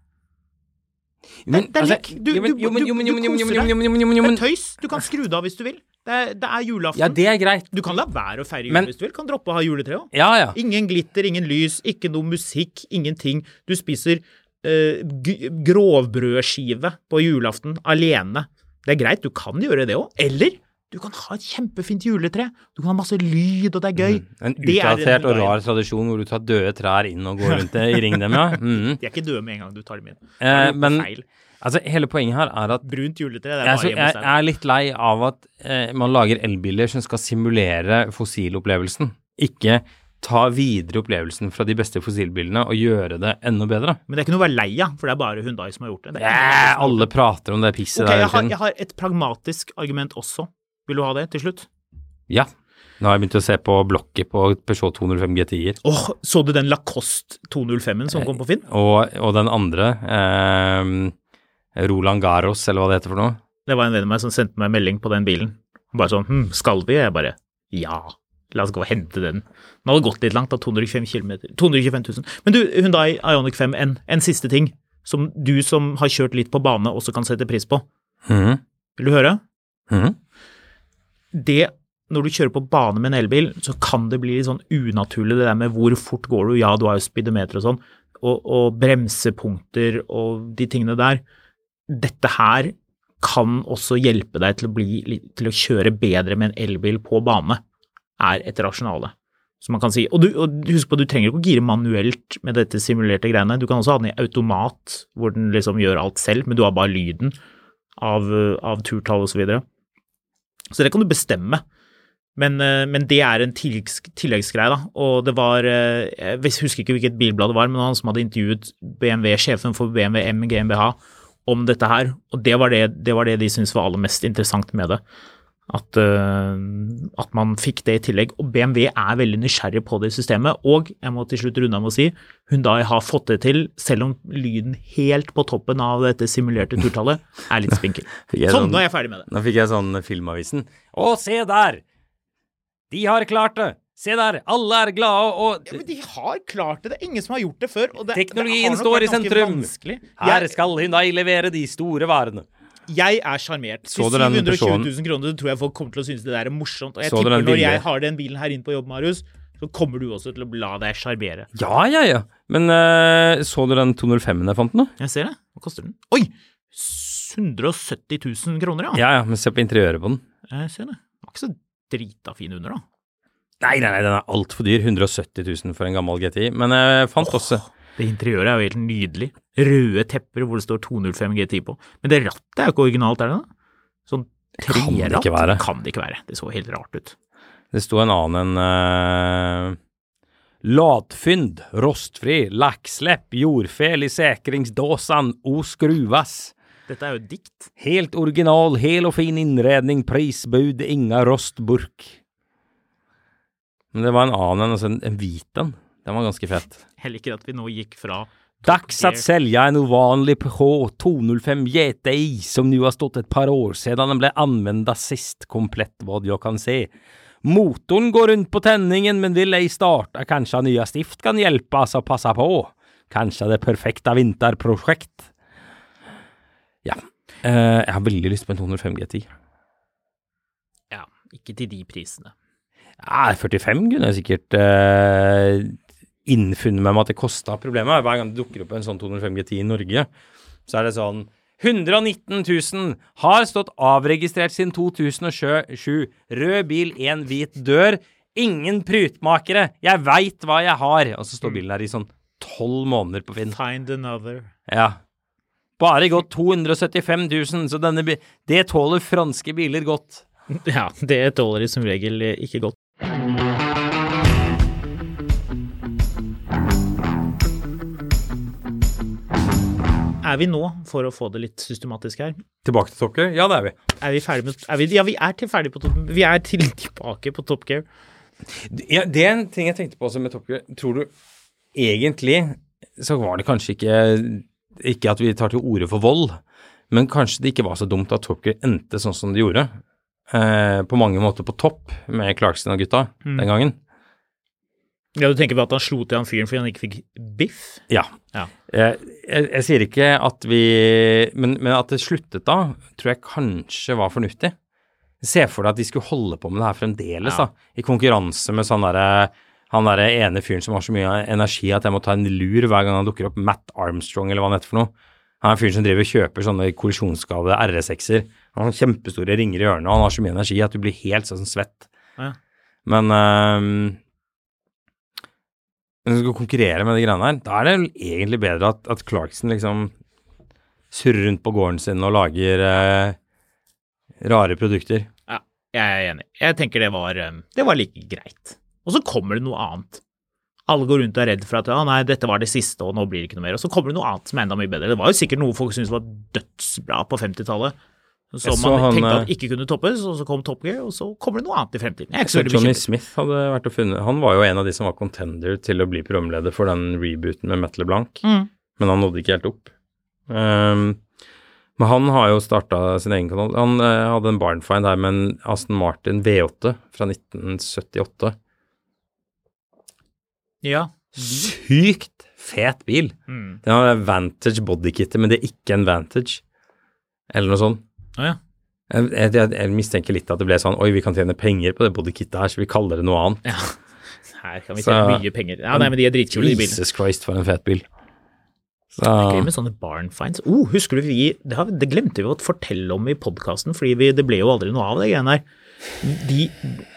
Men,
det er
altså,
lek. Du-
jo, men-
du-
jo, men-
du-
jo, men- jo, men-
du
jo, men-
koser
jo, men- jo, men- jo, men- jo, men-
Det
jo, men-
er tøys. Du kan skru det av hvis du vil. Det er, det er julaften.
Ja, det er greit.
Du kan la være å feire jul
Men-
hvis du vil. Kan droppe å ha juletre òg.
Ja, ja.
Ingen glitter, ingen lys, ikke noe musikk, ingenting. Du spiser eh, g- grovbrødskive på julaften alene. Det er greit, du kan gjøre det òg. Eller du kan ha et kjempefint juletre. Du kan ha masse lyd, og det er gøy.
En
Det er
utdatert og
veien.
rar tradisjon hvor du tar døde trær inn og går rundt det i ring dem, ja. Mhm.
De er ikke døde med en gang du tar dem inn. Da
Eh,
er det
men
feil.
altså, hele poenget her er at
Brunt juletre, det er
jeg,
bare
så,
hjemme
jeg,
hos deg.
jeg er litt lei av at eh, man lager elbiler som skal simulere fossilopplevelsen, ikke ta videre opplevelsen fra de beste fossilbilene og gjøre det enda bedre.
Men det er ikke noe å være lei av, for det er bare Hundai som har gjort det. det er ikke noe å være lei av.
Eh, alle prater om det pisset
Ok,
der
jeg
hele
har,
tiden.
jeg har et pragmatisk argument også. Vil du ha det til slutt?
Ja. Nå har jeg begynt å se på blokket på Peugeot 205 GTI-er.
Åh, så du den Lacoste 205-en som kom på Finn?
Og, og den andre, eh, Roland Garros, eller hva det heter for noe.
Det var en venn av meg som sendte meg en melding på den bilen. Han Bare sånn hm, skal vi? Jeg bare ja, la oss gå og hente den. Den hadde gått litt langt, da. 225 kilometer- 225 000. Men du, Hyundai Ioniq 5N, en siste ting som du som har kjørt litt på bane, også kan sette pris på.
Mhm,
Vil du høre?
mhm.
det når du kjører på bane med en elbil, så kan det bli litt sånn unaturlig det der med hvor fort går du, ja du har jo speedometer og sånn, og, og bremsepunkter og de tingene der. Dette her kan også hjelpe deg til å, bli, litt- til å kjøre bedre med en elbil på bane, er et rasjonale. Så man kan si, og, du, og husk på, du trenger ikke å gire manuelt med dette simulerte greiene. Du kan også ha den i automat, hvor den liksom gjør alt selv, men du har bare lyden av, eh, av turtall osv. Så, videre. så det kan du bestemme. Men, eh, men det er en tilleggs, tilleggsgreie, da. Og det var eh, Jeg vis- husker ikke hvilket bilblad det var, men han som hadde intervjuet BMW-sjefen for BMW M GmbH om dette her, og det var det, det, var det de syntes var aller mest interessant med det. At, eh, at man fikk det i tillegg. Og BMW er veldig nysgjerrig på det systemet. Og jeg må til slutt runde av med å si Hundai har fått det til, selv om lyden helt på toppen av dette simulerte turtallet er litt spinkel.
Fikk jeg
Sånn,
sånn-
nå er jeg ferdig med det.
Nå fikk jeg sånn Filmavisen. Å, se der! De har klart det! Se der, alle er glade og
Men de har klart det. Det er ingen som har gjort det før. Og det,
Teknologien
det har nok
står
vært
i
ganske
sentrum.
vanskelig.
Her
Jeg,
skal Hyundai levere de store varene.
jeg er sjarmert. Til
Så dere den
720
Peugeoten?
000 kroner så tror jeg folk kommer til å synes det der er morsomt. Og jeg
Så dere
tipper
den
når
billige?
jeg har den bilen her inn på jobb, Marius, så kommer du også til å la deg sjarmere.
Ja, ja, ja. Men eh, så du den 205-en jeg fant nå?
Jeg ser det. Hva koster den? Oi! 170 000 kroner, ja.
Ja, ja, men se på interiøret på den.
Jeg ser det. Den var ikke så drita fin under, da.
Nei, nei, nei, den er altfor dyr. 170 000 for en gammel GTI. Men jeg fant også
Det interiøret er jo helt nydelig. Røde tepper hvor det står 205 GTI på. Men det rattet er jo ikke originalt, er det da? Sånn
Kan det ikke
treratt
være.
kan det ikke være. Det så helt rart ut.
Det sto en annen enn eh, Latfynd, rostfri, lakkslepp, jordfel i sikringsdåsen, o skruvas.
Dette er jo et dikt.
Helt original, hel og fin innredning, prisbud, inga rostburk. Men det var en annen enn altså en, en hvit en. Den var ganske fett.
Heller ikke at vi nå gikk fra
Dags att
Gear.
sälja en ovanlig Peugeot 205 GTI som nu har stått ett par år sedan den blev använda sist, komplett vad jag kan se. Motorn går runt på tändningen men vill ej starta. Kanske nya stift kan hjälpa, så passa på. Kanske det perfekta vinterprojekt. Ja, eh, jeg har veldig lyst på en 205 GTI.
Ja, ikke til de prisene.
Ja, 45 kunne jeg sikkert eh, innfunnet meg med at det kosta. Problemet er hver gang det dukker opp en sånn 205 GTI i Norge, så er det sånn 119 000 har stått avregistrert siden 2007. Rød bil, én hvit dør. Ingen prutmakere. Jeg veit hva jeg har. Og så står bilen der i sånn tolv måneder på Finn.
Find another.
Ja. Bare gått 275 000, så denne bi det tåler franske biler godt.
Ja, det tåler de som regel ikke godt. Er vi nå, for å få det litt systematisk her,
Tilbake til Tokker? Ja, det er vi.
er vi ferdig med er vi, Ja, vi er til ferdig på Top Vi er til tilbake på Top Gear.
Ja, det er en ting jeg tenkte på også med Top Gear. Tror du egentlig så var det kanskje ikke ikke at vi tar til orde for vold, men kanskje det ikke var så dumt at Top Gear endte sånn som det gjorde. Eh, på mange måter på topp med Clarkson og gutta den gangen.
Ja, du tenker på at han slo til han fyren fordi han ikke fikk biff?
Ja.
Ja.
Eh, Jeg, jeg sier ikke at vi men, men at det sluttet da, tror jeg kanskje var fornuftig. Se for deg at de skulle holde på med det her fremdeles,
Ja.
da. I konkurranse med sånn derre han derre ene fyren som har så mye energi at jeg må ta en lur hver gang han dukker opp. Matt Armstrong, eller hva han heter for noe. Han er en fyr som driver og kjøper sånne kollisjonsskadede RS6-er. Han har kjempestore ringer i ørene, og han har så mye energi at du blir helt sånn svett.
Ja.
Men ehm, når du skal konkurrere med de greiene her, da er det vel egentlig bedre at, at Clarkson liksom surrer rundt på gården sin og lager eh, rare produkter.
Ja, jeg er enig. Jeg tenker det var, um, det var like greit. Og så kommer det noe annet. Alle går rundt og er redd for at ja, nei, dette var det siste, og nå blir det ikke noe mer. Og så kommer det noe annet som er enda mye bedre. Det var jo sikkert noe folk syntes var dødsbra på 50-tallet, som
Jeg så
man
han,
tenkte
eh,
at ikke kunne toppes, og så kom Top Gear, og så kommer det noe annet i fremtiden. Jeg er ikke så
Så
veldig
Johnny
bekymret.
Smith hadde vært og funnet Han var jo en av de som var contender til å bli programleder for den rebooten med Metal Blank,
Mm.
men han nådde ikke helt opp. Ehm, men han har jo starta sin egen kanal. Han eh, hadde en barnfind her med en Aston Martin V8 fra 1978.
Ja.
Sykt fet bil!
Mm.
Den har Vantage bodykittet, men det er ikke en Vantage. Eller noe sånt.
Å ja.
Jeg, jeg, jeg mistenker litt at det ble sånn Oi, vi kan tjene penger på det bodykittet her, så vi kaller det noe annet.
ja. Her kan vi
Så-
tjene mye penger. Ja, nei, men de er dritkule, de bilene.
Jesus Christ, for en fet bil. Så,
Gøy med sånne barn finds. Oh, husker du vi, det, har, det glemte vi å fortelle om i podkasten, fordi vi, det ble jo aldri noe av det greiene her. De,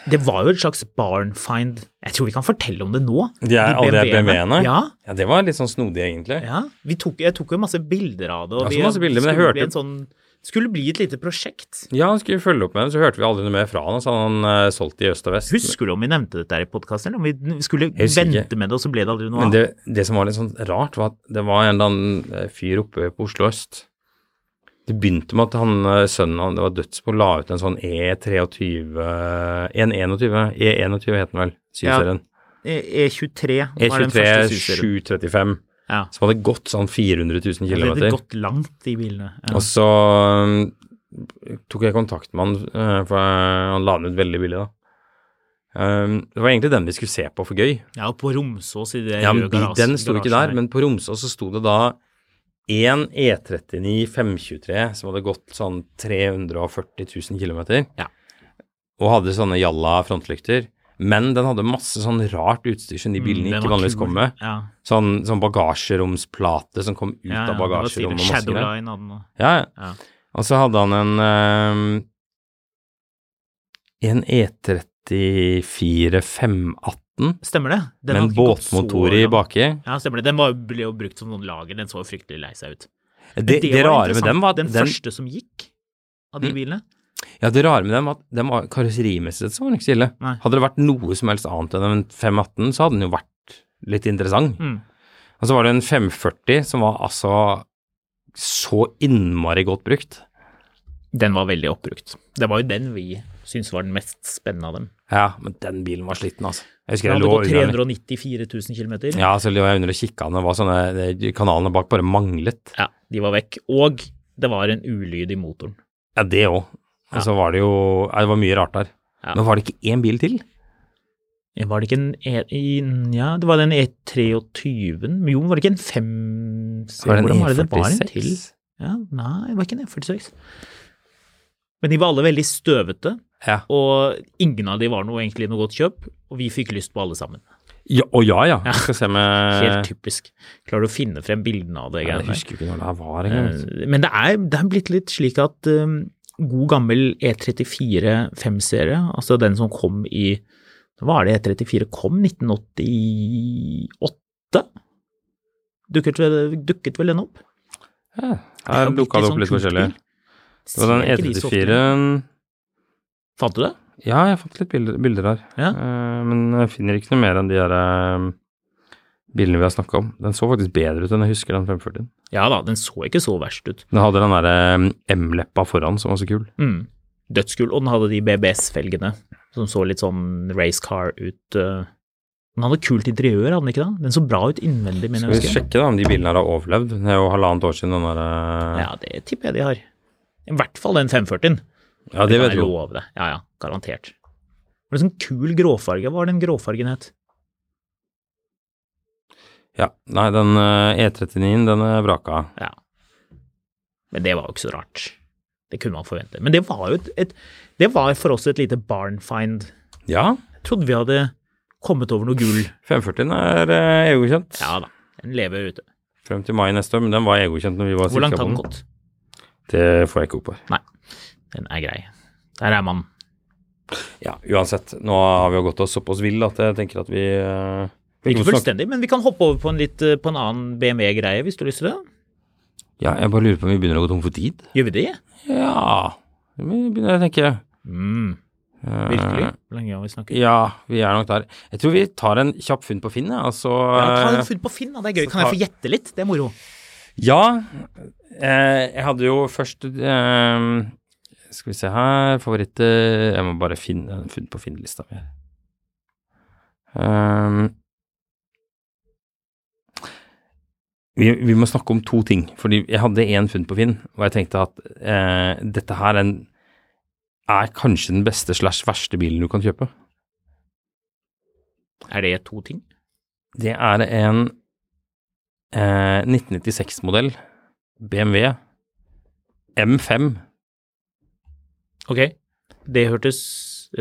det var jo et slags barn find Jeg tror vi kan fortelle om det nå.
de er alle de BMW-ene.
Ja,
ja, det var litt sånn snodig, egentlig.
ja. Vi tok, jeg tok jo masse bilder av det.
Ja, så masse bilder, men jeg
skulle
hørte-
bli en sånn, skulle bli et lite prosjekt.
Ja, han skulle følge opp med det, så hørte vi aldri noe mer fra han, og så hadde han eh, solgt det i øst og vest.
Husker du om vi nevnte dette her i podkasten? Om vi skulle
husker
vente
ikke.
med det, og så ble det aldri noe
Men
av?
det, det som var litt sånn rart, var at det var en eller annen eh, fyr oppe på Oslo øst. Det begynte med at han, eh, sønnen han, det var dødsbo, la ut en sånn E23 En 21, E21 het den vel, syvserien.
E- E23 var den første
E23
suseren.
735,
Ja.
som hadde gått sånn 400 000
Det hadde
km.
gått langt, de bilene. Ja.
Og så um, tok jeg kontakt med han, eh, for han la den ut veldig billig da. Um, det var egentlig den vi skulle se på for gøy.
Ja, og på Romsås i det
Ja, men
røde
de-
garas-
Den sto ikke
garasjen
der, men på Romsås så sto det da en E39 523 som hadde gått sånn 340 000 km.
Ja.
Og hadde sånne jalla frontlykter. Men den hadde masse sånn rart utstyr som de bilene
Mm, Den
ikke
var
vanligvis
kul.
kom med.
Ja.
Sånn, sånn bagasjeromsplate som kom ut
Ja, ja,
av
det var
bagasjerommet.
stilig.
og masse greier.
Shadowline hadde den. også.
Ja, ja.
Ja.
Og så hadde han en ehm, en E E34 518
Stemmer det?
med
Den hadde
en
ikke gått så
båtmotor i
langt.
baki.
Ja, stemmer det. Den var, ble jo brukt som noen lager, den så jo fryktelig lei seg ut. Men
Det, det
var
rare med
interessant.
dem var at
Den,
den,
første som gikk av de
Mm.
bilene.
ja, det rare med dem var at den var karosserimessig så var den ikke så ille.
Nei.
Hadde det vært noe som helst annet enn en 518, så hadde den jo vært litt interessant.
Mm.
Og så var det en 540 som var altså så innmari godt brukt.
Den var veldig oppbrukt. Det var jo den vi syntes var den mest spennende av dem.
Ja, men den bilen var sliten, altså. Jeg
Den
husker jeg
hadde
lå
gått
under den.
394 000 km.
Ja, så lå jeg under og kikka, og det var sånne de Kanalene bak bare manglet.
ja, de var vekk. Og det var en ulyd i motoren.
Ja, det òg. Og så var det jo Nei, det var mye rart der.
Ja.
Men var det ikke én bil til?
Var det ikke en e, i, Ja, det var den E23-en Jo, var det ikke en 5...
Var det en E
Hvordan var det det var en
E46?
til? Ja, nei, det var ikke en E46. Men de var alle veldig støvete,
Ja.
og ingen av de var noe, egentlig noe godt kjøp, og vi fikk lyst på alle sammen.
ja. Å ja, ja. Jeg skal se med
Helt typisk. Klarer du å finne frem bildene av det?
Eh. Ja, Jeg
greiene der?
husker ikke når det her var engang. altså.
Eh, Men det er, det er blitt litt slik at um, god gammel E34 5-serie, altså den som kom i Hva er det E34 kom? 1988? Dukket vel, dukket vel den opp?
Ja, her dukka det sånn opp litt forskjellig. Det var den E34-en
Fant du det?
Ja, jeg fant litt bilder, bilder her.
Ja.
Eh, men jeg finner ikke noe mer enn de der eh, bildene vi har snakka om. Den så faktisk bedre ut enn jeg husker den 540-en.
Ja da, den så ikke så verst ut.
Den hadde den derre M-leppa foran som var så kul.
Mm. Dødskul. Og den hadde de BBS-felgene som så litt sånn racecar ut. eh. Den hadde kult interiør, hadde den ikke det? Den så bra ut innvendig, mener
Skal
jeg.
vi
husker.
sjekke da om de bilene her har overlevd? Det er jo halvannet år siden den der eh,
Ja, det tipper jeg de har. I hvert fall den 540-en.
Ja, det vet
jeg
du.
love deg. Ja, ja, garantert. Var det sånn kul gråfarge? Hva var den gråfargen het?
Ja. Nei, den eh, E39-en, den er vraka.
Ja. Men det var jo ikke så rart. Det kunne man forvente. Men det var jo et, et Det var for oss et lite barn find.
Ja.
Jeg trodde vi hadde kommet over noe gull.
540-en er eh, EU-godkjent.
Ja da, den lever ute.
Frem til mai neste år, men den var EU-godkjent når vi var
Hvor langt
sikra på
har den
den.
gått?
Det får jeg ikke opp her.
Nei, den er grei. Der er man.
Ja, uansett. Nå har vi jo gått oss såpass vill at jeg tenker at vi eh, vi må
Ikke
snakke-
fullstendig, men vi kan hoppe over på en, litt, eh, på en annen BMW-greie hvis du har lyst til det.
Ja, jeg bare lurer på om vi begynner å gå tom for tid?
Gjør vi det?
Ja, vi begynner å tenke.
Mm.
Eh,
Virkelig? Hvor lenge har vi snakket?
Ja, vi er nok der. Jeg tror vi tar en kjapp funn på Finn, jeg. Altså
Ja, ta
eh,
en funn på Finn, da. Det er gøy.
så
Kan jeg
tar-
få gjette litt? Det er moro.
Ja. Eh, jeg hadde jo først eh, Skal vi se her Favoritter Jeg må bare finne en funn på Finn-lista mi. Eh, vi, vi må snakke om to ting. Fordi jeg hadde én funn på Finn, og jeg tenkte at eh, dette her er, en, er kanskje den beste slash verste bilen du kan kjøpe.
Er det to ting?
Det er en eh, 1996-modell BMW M5,
Ok. Det hørtes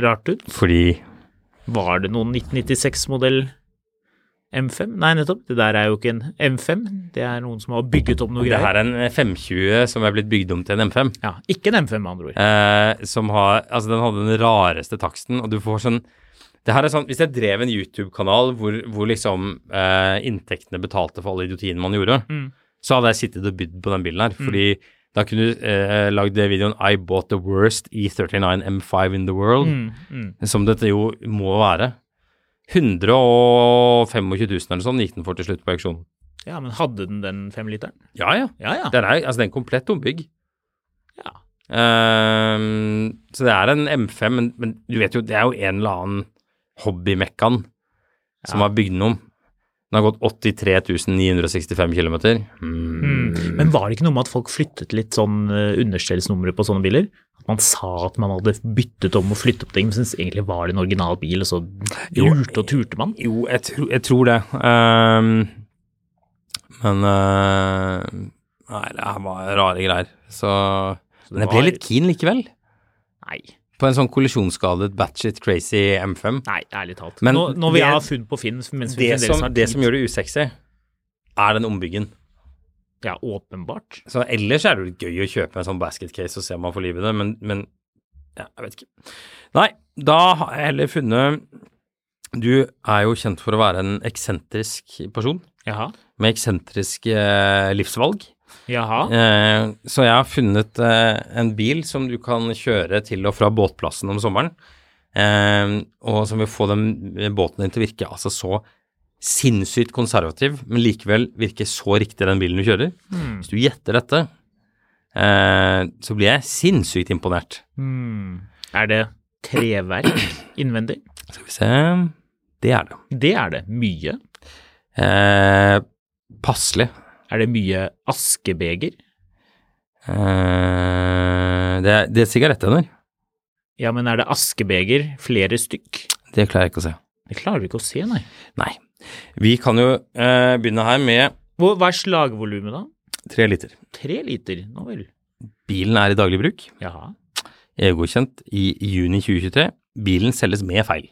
rart ut.
fordi
Var det noen 1996-modell M5? Nei, nettopp. Det der er jo ikke en M5. Det er noen som har bygget opp noe
Det
greier.
her er en 520 som er blitt bygd om til en M5.
Ja, ikke en M5, med andre ord.
Eh, som har Altså, den hadde den rareste taksten, og du får sånn det her er sånn, Hvis jeg drev en YouTube-kanal hvor, hvor liksom eh, inntektene betalte for alle idiotiene man gjorde, så hadde jeg sittet og bydd på den bilen her. Fordi da kunne du eh, lagd videoen 'I bought the worst E39 M5 in the world', som dette jo må være. 125 000 eller sånn gikk den for til slutt på auksjonen.
Ja, men hadde den den femliteren?
Ja, ja.
Ja, ja.
Den er, altså, det er en komplett ombygg.
Ja.
Ehm, så det er en M5, men, men du vet jo, det er jo en eller annen hobbymekkan som har bygd den om. Den har gått 83 965 km.
Mm. Men var det ikke noe med at folk flyttet litt sånn eh, understellsnummeret på sånne biler? At man sa at man hadde byttet om og flyttet opp ting, men syntes egentlig var det en original bil, og så lurte og turte man?
Jo, jeg, tro, jeg tror det. Ehm, men eh, Nei, det her var rare greier. Så Men jeg ble
var-
litt keen likevel.
Nei.
På en sånn kollisjonsskadet batshit crazy M5.
Nei, ærlig talt.
Men
nå, når vi
det-
har funn på Finn mens vi
det,
fremdeles
som,
har
det
tid-
som gjør det usexy, er den ombyggen.
Ja, åpenbart.
Så ellers er det jo gøy å kjøpe en sånn basket case og se om man får liv i det, men, men ja, jeg vet ikke. Nei, da har jeg heller funnet Du er jo kjent for å være en eksentrisk person
Jaha.
med eksentriske eh, livsvalg.
Jaha.
Eh, så jeg har funnet eh, en bil som du kan kjøre til og fra båtplassen om sommeren, eh, og som vil få den båten din til å virke altså så sinnssykt konservativ, men likevel virke så riktig den bilen du kjører. Hvis du gjetter dette, eh, så blir jeg sinnssykt imponert.
Hmm. Er det treverk innvendig?
Skal vi se Det er det.
Det er det. Mye.
Eh, passelig.
Er det mye askebeger?
Eh, det, er- det er sigarettenner.
Ja, men er det askebeger flere stykk?
Det klarer jeg ikke å se.
Det klarer vi ikke å se, nei.
Nei. Vi kan jo eh, begynne her med
Hva hva er slagvolumet, da?
Tre liter.
Tre liter, nå vel.
Bilen er i daglig bruk,
Jaha.
EU-godkjent i juni 2023. Bilen selges med feil.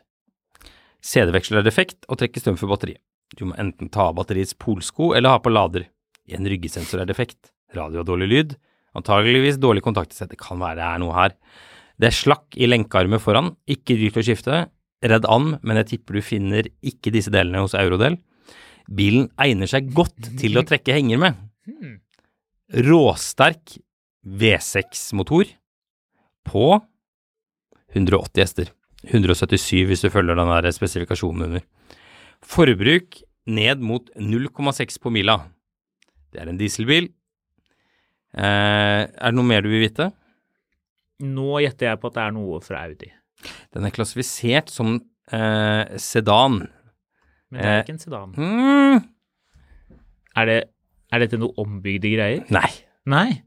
CD-veksler er defekt og trekker strøm for batteriet. Du må enten ta av batteriets polsko eller ha på lader. En ryggesensor er defekt. Radio har dårlig lyd. Antageligvis dårlig kontaktsett. Det kan være det er noe her. Det er slakk i lenkearmer foran. Ikke dyrt å skifte. Redd an, men jeg tipper du finner ikke disse delene hos Eurodel. Bilen egner seg godt til å trekke henger med. Råsterk V6-motor på 180 hester. 177 hvis du følger den der spesifikasjonen under. Forbruk ned mot 0,6 på mila. Det er en dieselbil. Eh, er det noe mer du vil vite?
Nå gjetter jeg på at det er noe fra Audi.
Den er klassifisert som eh, sedan.
Men det er
Eh.
ikke en sedan.
Mm,
Er, det, er dette noe ombygde greier?
nei.
Nei.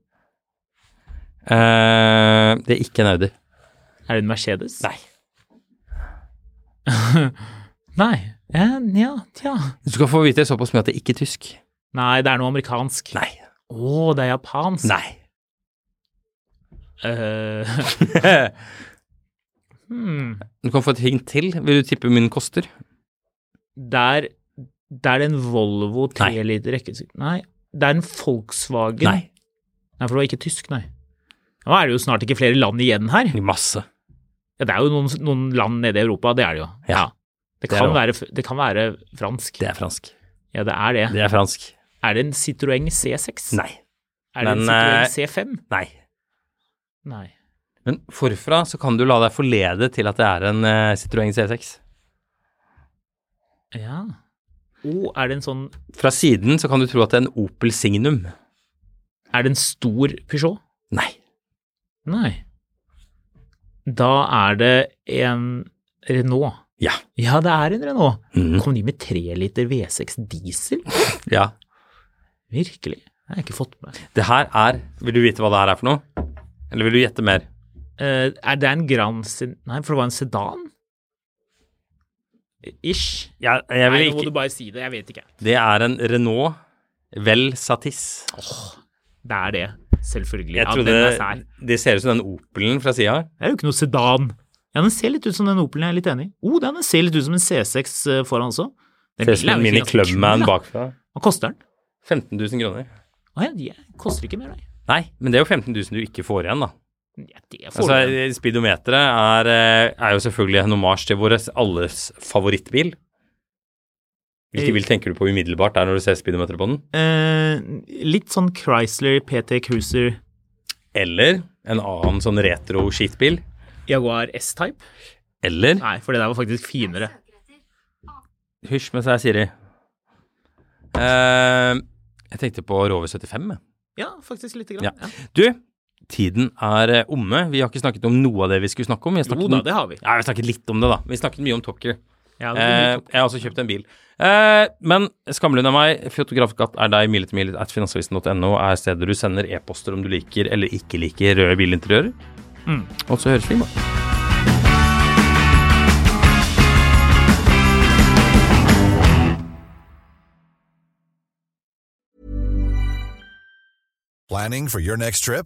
Eh, det er ikke en Audi.
Er det en Mercedes?
Nei.
Nei. Ja, ja, tja.
Du skal få vite såpass mye at det ikke er tysk.
Nei, det er noe amerikansk.
Nei.
Å, det er japansk.
Nei.
Eh, hmm.
Du kan få et hint til. Vil du tippe min koster?
Der, det er en Volvo 3
Nei.
liter rekkesyk... Nei. Det er en Volkswagen. Nei, for det var ikke tysk, nei. Nå er det jo snart ikke flere land igjen her.
Masse.
Ja, det er jo noen, noen land nede i Europa, det er det jo.
Ja.
Det
Det er
kan,
det
være, f- det kan være fransk.
Det er fransk.
Ja, det er det.
Det er fransk.
Er det en Citroën C6?
Nei.
Er det en
men, eh,
Citroën C5?
Nei.
Nei.
Men forfra så kan du la deg forlede til at det er en eh, Citroën C6.
Ja. Å, er det en sånn
Fra siden så kan du tro at det er en Opel Signum.
Er det en stor Peugeot?
Nei.
Nei. Da er det en Renault.
Ja.
Ja, det er en Renault.
Mhm.
Kom de med 3 liter V6 diesel?
Ja.
Virkelig? Det har jeg ikke fått med meg.
Det her er Vil du vite hva det her er for noe? Eller vil du gjette mer?
Eh, er det en Grand Sin... Nei, for det var en sedan? Ish.
Ja, jeg
Nei, nå må du bare si det. Jeg vet ikke.
Det er en Renault Vel Satis.
Det er det. Selvfølgelig.
Jeg
Ja,
trodde
den er
det,
sær.
det ser ut som den Opelen fra sida.
Det er jo ikke noe sedan. Ja, den ser litt ut som den Opelen, jeg er litt enig i. Oh, den ser litt ut som en C6 eh, foran også. Den
Ser ut som
bilen er
en
jo
Mini
ikke ganske kul,
Clubman
da.
bakfra.
Hva koster den?
15 000 kroner.
Å ja, de koster ikke mer, nei.
Nei, men det er jo 15 000 du ikke får igjen, da.
Ja, det får
Altså,
du.
speedometeret er, eh, er jo selvfølgelig en omasj til vår alles favorittbil. Hvilken bil tenker du på umiddelbart der når du ser speedometeret på den?
Eh, litt sånn Chrysler PT Cruiser
Eller en annen sånn retro skitbil?
Jaguar S-Type?
Eller
Nei, for det der var faktisk finere.
Hysj mens jeg er Siri. Eh, jeg tenkte på Rover 75. jeg.
Ja, faktisk lite grann.
Ja.
Ja.
Du, tiden er eh, omme. Vi har ikke snakket om noe av det vi skulle snakke om. Vi har
Jo
snakket
da,
om-
det har vi.
Ja, vi har snakket litt om det, da. Vi snakket mye om Top Gear.
Ja, det blir
Eh,
mye topp.
jeg har også kjøpt en bil. Eh, men skamlund av meg, fotografkatt er deg, mil etter mil at finansavisen.no er stedet du sender e-poster om du liker eller ikke liker røde bilinteriører.
Mm.
Og så høres vi i morgen.
Planning for your next trip?